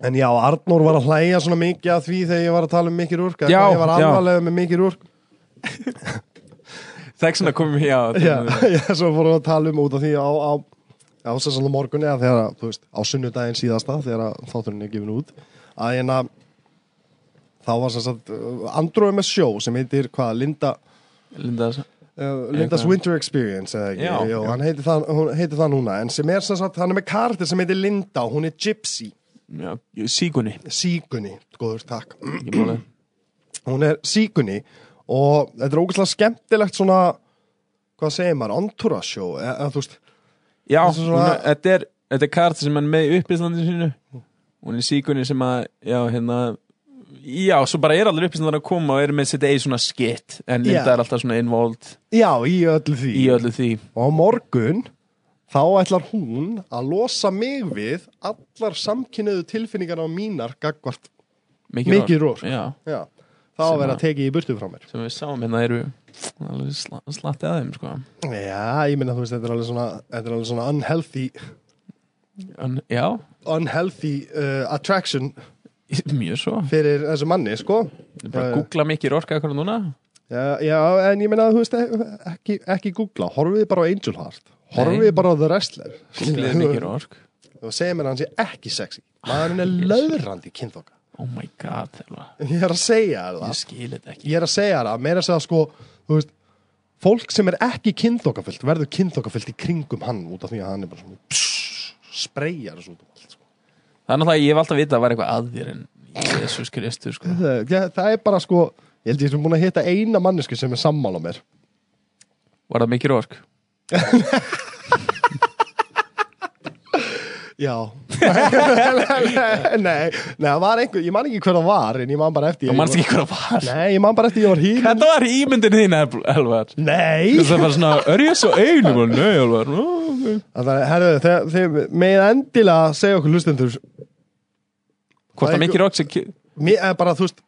En já, Arnór var að hlæja svona mikið að því þegar ég var að tala um Mikki Rúrk. Já, Ég var já. alvarlega með Mikki Rúrk. Þegar svona hérna komum við hjá Já, já, svo fórum við að tala um út af því á, á, á sessan á morgunni að þegar, að, þú veist, á sunnudaginn síðasta þegar að þátturinn er gefin út. Að en að þá var sem sagt Andrói með sjó sem heitir, hvað, Linda... Linda Uh, Linda's Eitthvað. Winter Experience eða ekki, Já, Jú, já. hann heitir það, hún heitir það núna en sem er sem sagt, hann er með kartir sem heitir Linda og hún er Gypsy, já, Sígunni síkunni góður takk, ekki máli. hún er síkunni og þetta er ógæslega skemmtilegt svona hvað segir maður, entourage og eða þú veist, Já, Það er svo svona- hún er- þetta er, þetta er kart sem hann með í uppistandinu sínu Hún er sígunni sem að, já, hérna Já, svo bara er allir uppistandar að koma og er með sitt eigi svona skitt En Linda Já. er alltaf svona involved já í öllu því í öllu því og á morgun þá ætlar hún að losa mig við allar samkynniðu tilfinningar á mínar gagvart, Mikið, mikið sko. rór Já, já, þá Sem verða að- tekið í burtu frá mér sem við sáum hérna eru alveg sla, slatti að þeim sko. Já, ég minna þú veist, þetta er alveg svona, þetta er alveg svona unhealthy, en, Já, unhealthy uh, attraction mjög svo fyrir þessu manni, sko. Ég bara Já, já. að googla mikið rorka eitthvað núna Já, já en ég minna þú veist, e- ekki, ekki googla, horfið bara á Angel Heart, horfið Nei. bara á The Wrestler. Googliði mikið rork Og segir mér að hann sé ekki sexy. Maðurinn er löðrandi kynþokka. Oh my god, Elva. Ég er að segja þér ég það. skil þetta ekki Ég er að segja þér það, meira að segja sko, þú veist, fólk sem er ekki kynþokkafullt verður kynþokkafullt í kringum hann út af því að hann er bara svona pss, spreyjar þessu út um allt, sko. Það er náttúrulega, ég hef alltaf vitað að vera eitthvað að þér en Jesus Kristus sko. það, já, það er bara sko ég held ég sem búin að hitta eina mannesku sem er sammála mér Var það mikið rork? já nei, nei, nei, það var einhver, ég man ekki hver það var en ég man bara eftir Þú ég manst var- ekki hvað það var nei, ég man bara eftir ég var hýrin Þetta var ímyndin þín, El- Elvar nei Það var svona, er ég svo einum? Og Nei, Elvar Ó, ok. það er, herðu, þeir, þeir með endilega segja okkur lustendur Hvort Það er það mikið rork sem ki- mér, eh, bara þú veist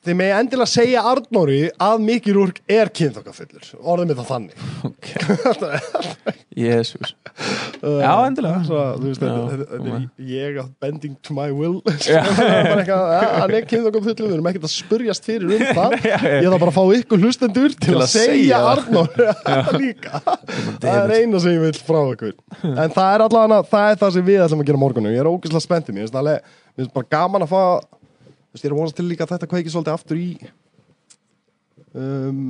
þeir með endilega segja Arnóri að Miki Rúrk er kynþokkafullur orðið með það þannig Ok Jesus Já, endilega Eh, Svo, þú veist, Já, þetta, þetta, þetta koma. er ég að bending to my will Já. Það er bara eitthvað, "Ja, hann er kynþokkum fullum við erum ekkert að spurjast fyrir um það Já, já. ég þarf bara að fá ykkur hlustendur til, Til að, að segja segja það. Arnór líka það damn er eina sem ég vil frá ykkur en það er allavega, það er það sem við ætlum að gera morgunum ég er ógeðslega spenntið, mér finnst það alveg mér finnst bara gaman að fá þú veist, ég er að vonast til líka að þetta kveiki svolítið aftur í um,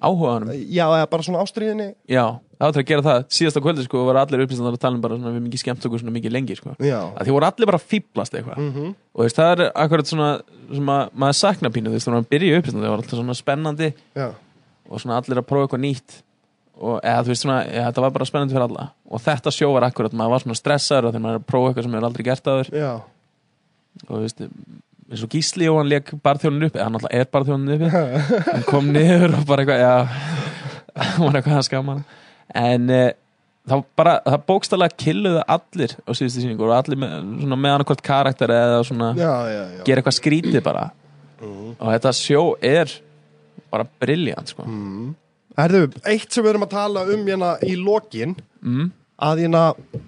Áhugaðanum já, eða bara svona ástriðinni Já, það áttur að gera það Síðasta kvöldi sko var allir upplýstandar að tala um bara svona við mikið skemmt okkur svona mikið lengi sko já, að því voru allir bara að fýblast eitthvað og þú veist, það er akkurat svona sem að maður sakna pínu þú veist, þannig að byrja í upplýstandar það var alltaf svona spennandi já, og svona allir að prófa eitthvað nýtt og eða þú veist svona, eða, þetta var bara spennandi fyrir alla og þetta sjó var akkurat, maður var svona stressaður af því maður er að prófa eitthvað sem maður aldrei gert aður já og þú veist, eins og Gísli og hann leik barþjónin upp, eða hann alltaf er barþjónin uppi hann kom niður og bara eitthvað já, hann var eitthvað að skama hann. en e, það bara það bókstallega killuðu allir á síðustu síningu og allir með, svona, með annarkvort karakter eða svona já, já, já. gera eitthvað skrítið bara og þetta sjó er bara brilljant sko Herðu, eitt sem við erum að tala um hérna í lokin mm. að hérna,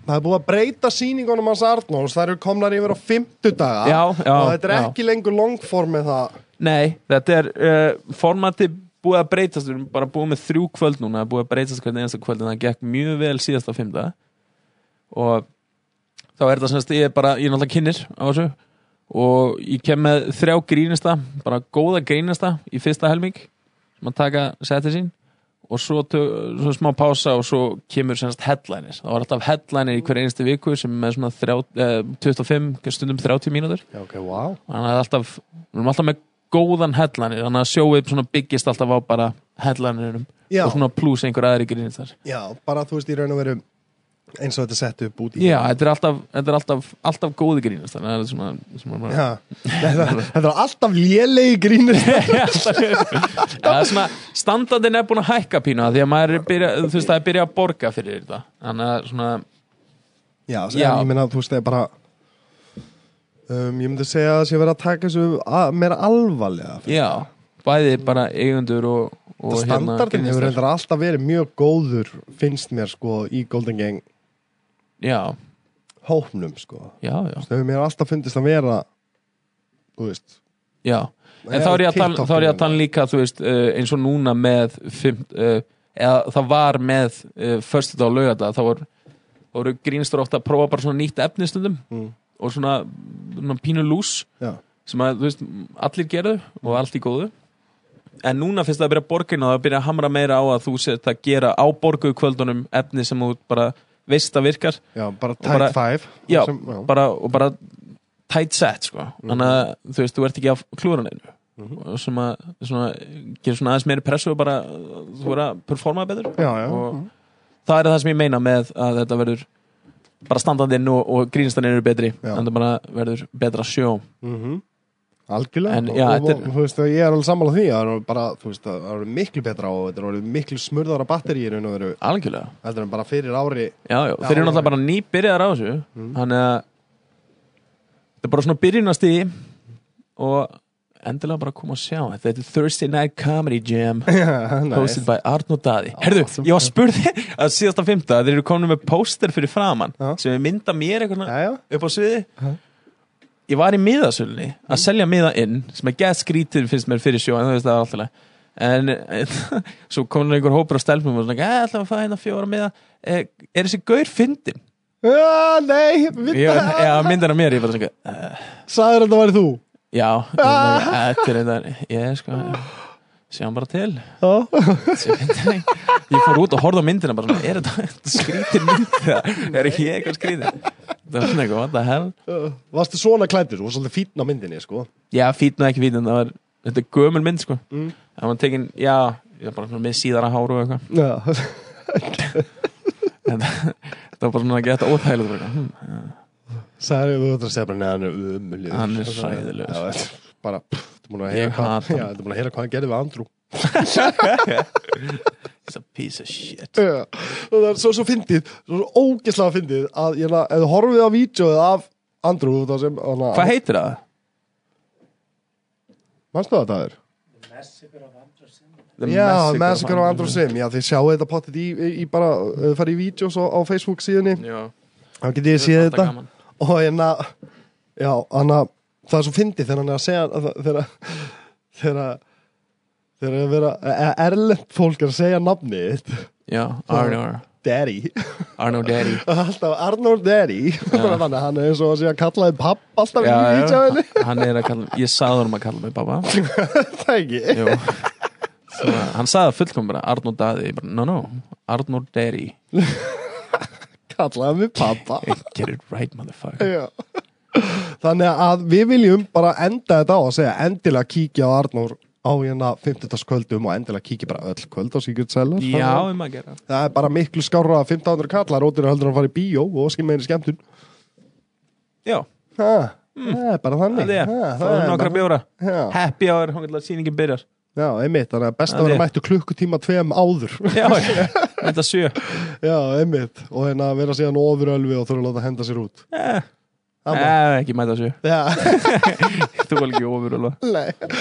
það er búið að breyta sýningunum hans Arnóls, það eru komnar yfir á fimmtudaga Já, já, og þetta er já. ekki lengur longform með það Nei, þetta er uh, formatið búið að breytast, við erum bara búið með þrjú kvöld núna, búið að breytast hvernig einasta kvöld en það gekk mjög vel síðast á fymta og þá er þetta semst, ég er bara, ég er náttúrulega kynir á þessu og ég kem með þrjá grínista, bara góða grínista í fyrsta helming sem að taka setið sín og svo, tö, svo smá pása og svo kemur semst headliners, það var alltaf headliner í hverja einstu viku sem er með svona þrjá, eh, 25, stundum 30 mínútur Já, ok, wow þannig að alltaf, við erum alltaf með góðan hellanir þannig að sjóið svona byggist alltaf á bara hellaninum Já. og svona pluss einhver aðri grínistar Já, bara þú veist í raun og veru eins og þetta er sett upp út í Já, þetta er alltaf, þetta er alltaf, alltaf góði grínistar það er svona, svona bara, Já. Þetta, þetta er alltaf lélegi grínur það er svona standardin er búin að hækka pínu af því að maður er byrja, þú veist, það er byrjað að borga fyrir þetta þannig að svona, Já, sem, Já. ég meina þú veist það er bara um, Ég myndi segja að sé verið að taka þessu að, meira alvarlega já bæði bara eigendur og, og hérna Þetta standardin hefur grínistar. reyndar alltaf verið mjög góður finnst mér sko í Golden Gang Já, hópnum sko já, já Það hefur mér alltaf fundist að vera þú veist Já, en Er þá er ég að tala, TikTok þá er ég að tala líka þú veist, uh, eins og núna með fimm, uh, eða það var með uh, förstu dag og laugardag þá voru, voru grínstur ofta að prófa bara svona nýtt efni stundum Mm. og svona, svona pínu lús Já, sem að, þú veist, allir gerðu og allt í góðu en núna finnst það að byrja að borga inn og það að byrja að hamra meira á að þú sett að gera á borguðu kvöldunum efni sem þú bara veist að virkar já bara bara- tight five já, sem, já. Bara, og bara tight set sko. Mhm. þannig að þú veist, þú ert ekki að klúra neinu og sem að svona, gerir svona aðeins meiri pressu og bara uh, þú verður að performa betur Já, já. og það er það sem ég meina með að þetta verður bara standandinn og, og grínstandinn eru betri Já. en það bara verður betra sjó Mhm. Algjörlega En, já, og, þetta og, er- þú veist, og ég er alveg sammála því að það eru bara, þú veist, að það eru miklu betra og þetta eru miklu smurðara batteríir en það eru algjörlega heldur en bara fyrir ári já, já, Já, Mhm. þeir eru alveg. náttúrulega bara nýbyrjaðar á þessu þannig að þetta er bara svona byrjunasti og endilega bara koma að sjá þetta er Thursday Night Comedy Jam hosted by Arn og Daði Herðu, awesome. ég var spurði að síðasta fymta að þeir eru komin með póster fyrir framann Já. sem er mynda mér eitthvað svona Jæja. upp á sviði ég var í miðasölunni að Mm. selja miða inn sem er gett skrítið finnst mér fyrir sjó en það veist það er alltaf leið. en en svo komin einhver hópur á stelpum og svona, eða ætlaðum að fæða hérna fjóra miða Eh, er þessi gaur fyndin? Já, nei, Ég- vita Já, myndin af mér, ég bara svona eh, Sæður þetta væri þú Já, þetta er þetta Ég sko, sjáum bara til Já, Þessi myndin er- Ég fór út og horfði á myndina bara svona, Er þetta skrítin mynd? eða Er ekki ég eitthvað skrítin? Það var svona eitthvað, what the hell Eh, Varstu svona klættur, þú var svolítið fínn á myndinni sko. Já, fítn og ekki fítn, það var Þetta er gömul mynd, sko Mm. Það var tekin, já, ég var bara svona með síðara hár og eitthvað Já, En það var bara svona að geta óþægilegt bara, eitthvað, hm, sæður þú þetta að segja bara neðan er umulíður Hann er hræðilegur. Bara, pff, þú múin að Ég heyra hata hvað hann. Já, þú múin að heyra hvað hann gerði við Andrew It's a piece of shit Já, og það er svo svo fyndið svo, svo ógeðslega fyndið að ég la, ef þú horfið á vídjóið af Andrew þá sem, hana, Hvað heitir það? mannstu það það er? The Já, Massacre á Andrew Sim já þið sjáu þetta pottit í, í, í bara uh, farið í vídjós á, á Facebook síðunni Já, þá getið þið séð þetta gaman. og hérna já, hana, það er svo fyndið þegar hann er að segja að það- þegar þegar þegar að vera e- erlend fólk er að segja nafnið þitt. Já, Arnur Daddy Arnur Daddy alltaf Arnór Derry þannig að hann er eins og að sé að kalla þið papp alltaf já, í já, vítjáðinni hann er að kalla ég sagði honum að kalla mig pappa það ekki Jú. Svo, hann sagði fullkom bara Arnur Daði Ég bara, no no, Arnur Derry kallaði mig pappa get it right motherfucker Já. þannig að við viljum bara enda þetta á að segja endilega kíkja á Arnór á hérna 50. kvöldum og endilega kíkja bara öll kvöld á Secret Cellar já, um að gera það er bara miklu skárra að 1500 kallar ótir að heldur að fara í bíó og skil meðin skemmtun já, ha, Mm. það er bara þannig það er, Ha, það er nokkra bara- bjóra Já. happy hour, hann getur að sýningin byrjar já, einmitt, þannig að best Það að vera er. mættu klukkutíma tveim áður já, já, þetta sjö Já, einmitt, og hérna vera síðan ofurölvi og þurfa að láta henda sér út eh, Amma. eh, ekki mæta sjö Já, þú var ekki ofur alveg nei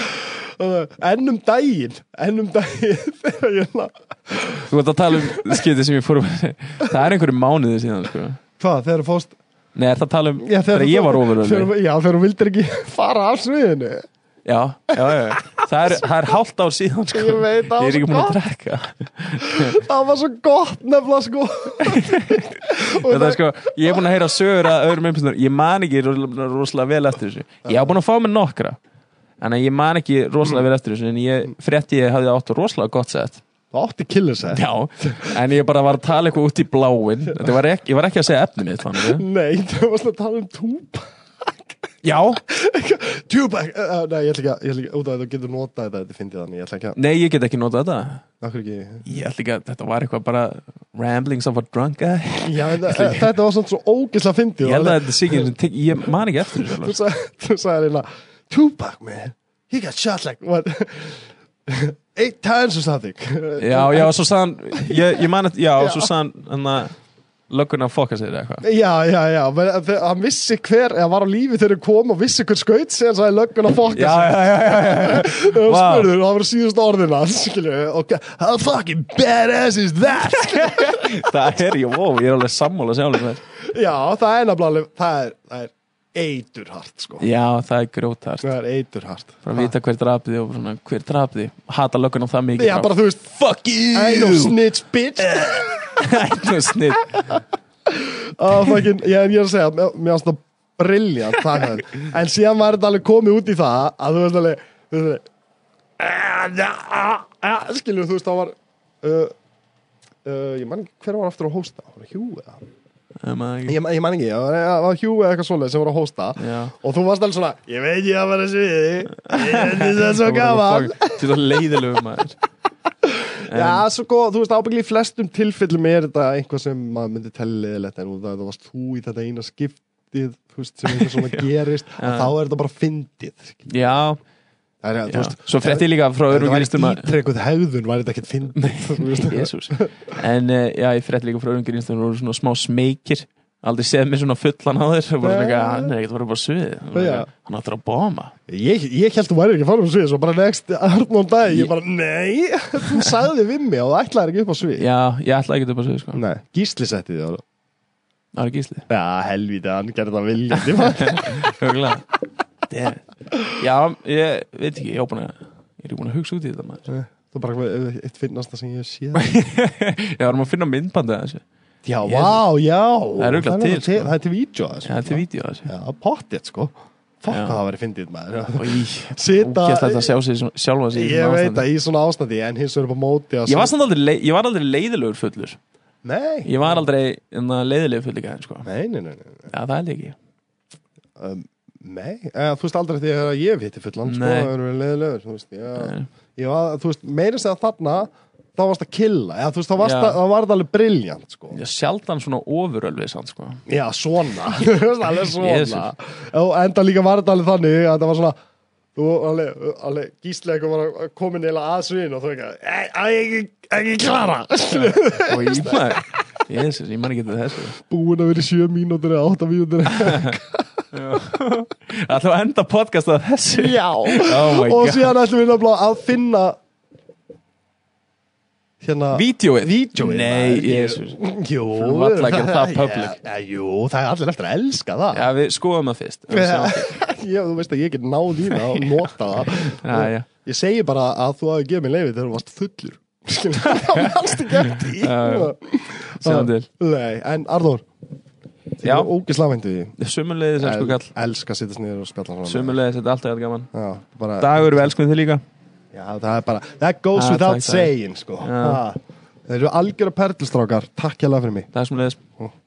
Ennum um daginn, ennum daginn þegar ég la þú vart að tala um skiti sem ég fór það er einhverju mánuði síðan sko. Hvað, þegar þú fórst nei, er það að tala um Já, þegar þú- ég var ofur alveg þegar- Já, þegar þú vildir ekki fara af sviðinu Já, já, já. Það er, það er hálft ár síðan sko. Ég veit það, Ég er ekki sko. búin að drekka Það var svo gott nefnilega sko Og Þetta er sko, Ég er búin að heyra sögur að öðrum umpistunar Ég man ekki ro- rosalega vel eftir þessu Ég á búin að fá mér nokkra En ég man ekki rosalega vel eftir þessu En ég frétti ég hafði átt rosalega gott sett Það átti killis eða? Já, en ég bara var að tala eitthvað út í bláin Þetta var ekki, Ég var ekki að segja efni mitt fannig. Nei, þú varst að tala um túpa Já, Tjúbæk, uh, nei, ég ætla ekki að, ég ætla ekki, út af að þú getur notað þetta, þetta finnst ég þannig, ég ætla ekki að, nei, ég get ekki notað þetta okkur ekki, Ég ætla ekki að þetta var eitthvað bara ramblings of a drunk guy já, en, uh, þetta var svona svo ógislega fyndið. Ég held að þetta sé ekki, einu sinni tek- ég man ekki eftir þú þessu sjálfur. sagði, þú sagði hérna Tupac man, he got shot like what eight times or something Já, já, svo saðan Ég, ég man að, já, svo saðan Þannig að löggurinn að fokka sér eða eitthvað Já, já, já, menn að þe- hann vissi hver, eða var á lífi þegar hann kom og vissi hver skaut sig en sagði löggun að fokka Já, já, já, já, já, já. sig og vá. spurði, og það var síðust orðin hans, skilju, ok, how fucking badass is that? Það er ég, wow, ég er alveg sammála sjálfum þess já, það er nefnilega, alveg- það er, það er eiturhart, sko, Já, það er grjótart það er eiturhart. Bara að vita hver drapiði og svona, hver drapiði Hata löggurinn á það mikið Já, bara þú veist, Fuck I know you snitch bitch. Ætlu snitt oh, fucking, ég, ég er að segja, mér- mér varst það briljant það hefði. en síðan var þetta alveg komið út í það að þú veist alveg Eh, þú veist alveg skilur eh, þú veist það var uh, uh, ég man ekki hver var aftur að hósta var það Hugh eða Oh ég, man- ég man ekki, það var, eh, það var Hugh eða eitthvað svoleið sem var að hósta Já og þú varst alveg svona ég veit ég að vera sviði ég veit það er svo gaman Þetta er leiðilegu maður En- Já, svo góð, þú veist ábyggli í flestum tilfellum er þetta einhvað sem maður myndi telli leðilegt en út af því að það varst þú í þetta eina skiptið þú veist, sem eitthvað svona gerist Já. og þá er þetta bara fyndið skilur. Já, Það er, já. Svo frétti ég líka frá Það öðrum var grínstum um að ítrekuð hegðun, var þetta ekkert fyndið þú veist. Jésús En eh, já, ég frétti líka frá öðrum grínstum og voru svona smá smekir Aldrei séð mér svona fullan á þér og bara svona Já. eitthvað, "Ah, hann er ekkert voru bara suðið Hann var Já. eitthvað, "Hann áttur að bóma Ég, ég held þú væri ekki að fara um svið svo bara next Arnón dag, ég bara nei þú sagði við mig og það ætlaði ekki upp á svið Já, ég ætla ekki upp að suðið sko Nei, gísli setti þið á það Það er gísli Já, helvítið, hann gerði það viljandi maður. Huglega Já, ég veit ekki, ég er búin að Ég er ekki búin að hugsa út í þetta maður Þú bara eh, eitt finnast það sem ég sé Ég varum að finna myndbandi að þessu Já, Ég- vá, já Það er örugglega Það til, sko. Það er til vídeo að þessu. Já, þetta er vídeo að þessu Já, pottið sko Fokk Já. hvað það væri fyndið maður Í, Sita- ógeðslegt að sjá sig svona- sjálfan sig í Ég svona veit ástandi. að í svona ástandi En hins vegar upp á móti að Ég var, samt aldrei, lei- ég var aldrei leiðilegur fullur Nei, Ég var aldrei hérna, leiðilegur fullur gæðin sko. nei, nei, nei, nei. Já, það held ég ekki Um, nei. Eh, Þú veist aldrei því að ég hef hitti fullan sko, Nei. það eru leiðilegur, þú veist, ég, Nei. ég var, þú veist, meira segja þarna þá varst að killa, eða, þú veist, þá varst Já. að, það var það alveg briljant, sko. Ég sjaldan svona ofurölvis hann sko. Já, svona, þú veist, alveg svona. Jesus. Og enda líka var það alveg þannig að það var svona, þú alveg, alveg gíslega var að koma neila að sviðin og þú ekki, að ekki, ekki klara, skilur. Og ég maður Jesus, ég man ekki til þessu búin að vera í sjö mínútur eða átta mínútur Alltaf að enda podcast að þessu Já Oh my Og God. síðan ætlum við nefnilega að finna Hérna Vídeóið Vídeóið Nei, maður. Jesus Jú Þú varla um að gera það public. ja, Jú, það er allir eftir að elska það Já, við skoðum það fyrst Já, þú veist að ég get náð í það og nota það Já, já. Ég segi bara að þú hafi gefið mér leiði þegar þú varst fullur Skilur, það mannst ekki eftir því. Sko. Já, já. Sjáum til. Nei, en Arður Já. Ógislega væntu því Sumulegðis, elsku kall Elska að sittast niður og spjalla svona Sumulegðis, þetta er alltaf jafn gaman Já, bara, Dagur, við elskum þig líka já, það er bara That goes Ah, without takk, takk. saying sko. Já. ah, Þeir eru algjör að perlustrákar Takk hjá fyrir mig Það er sumulegðis Ó.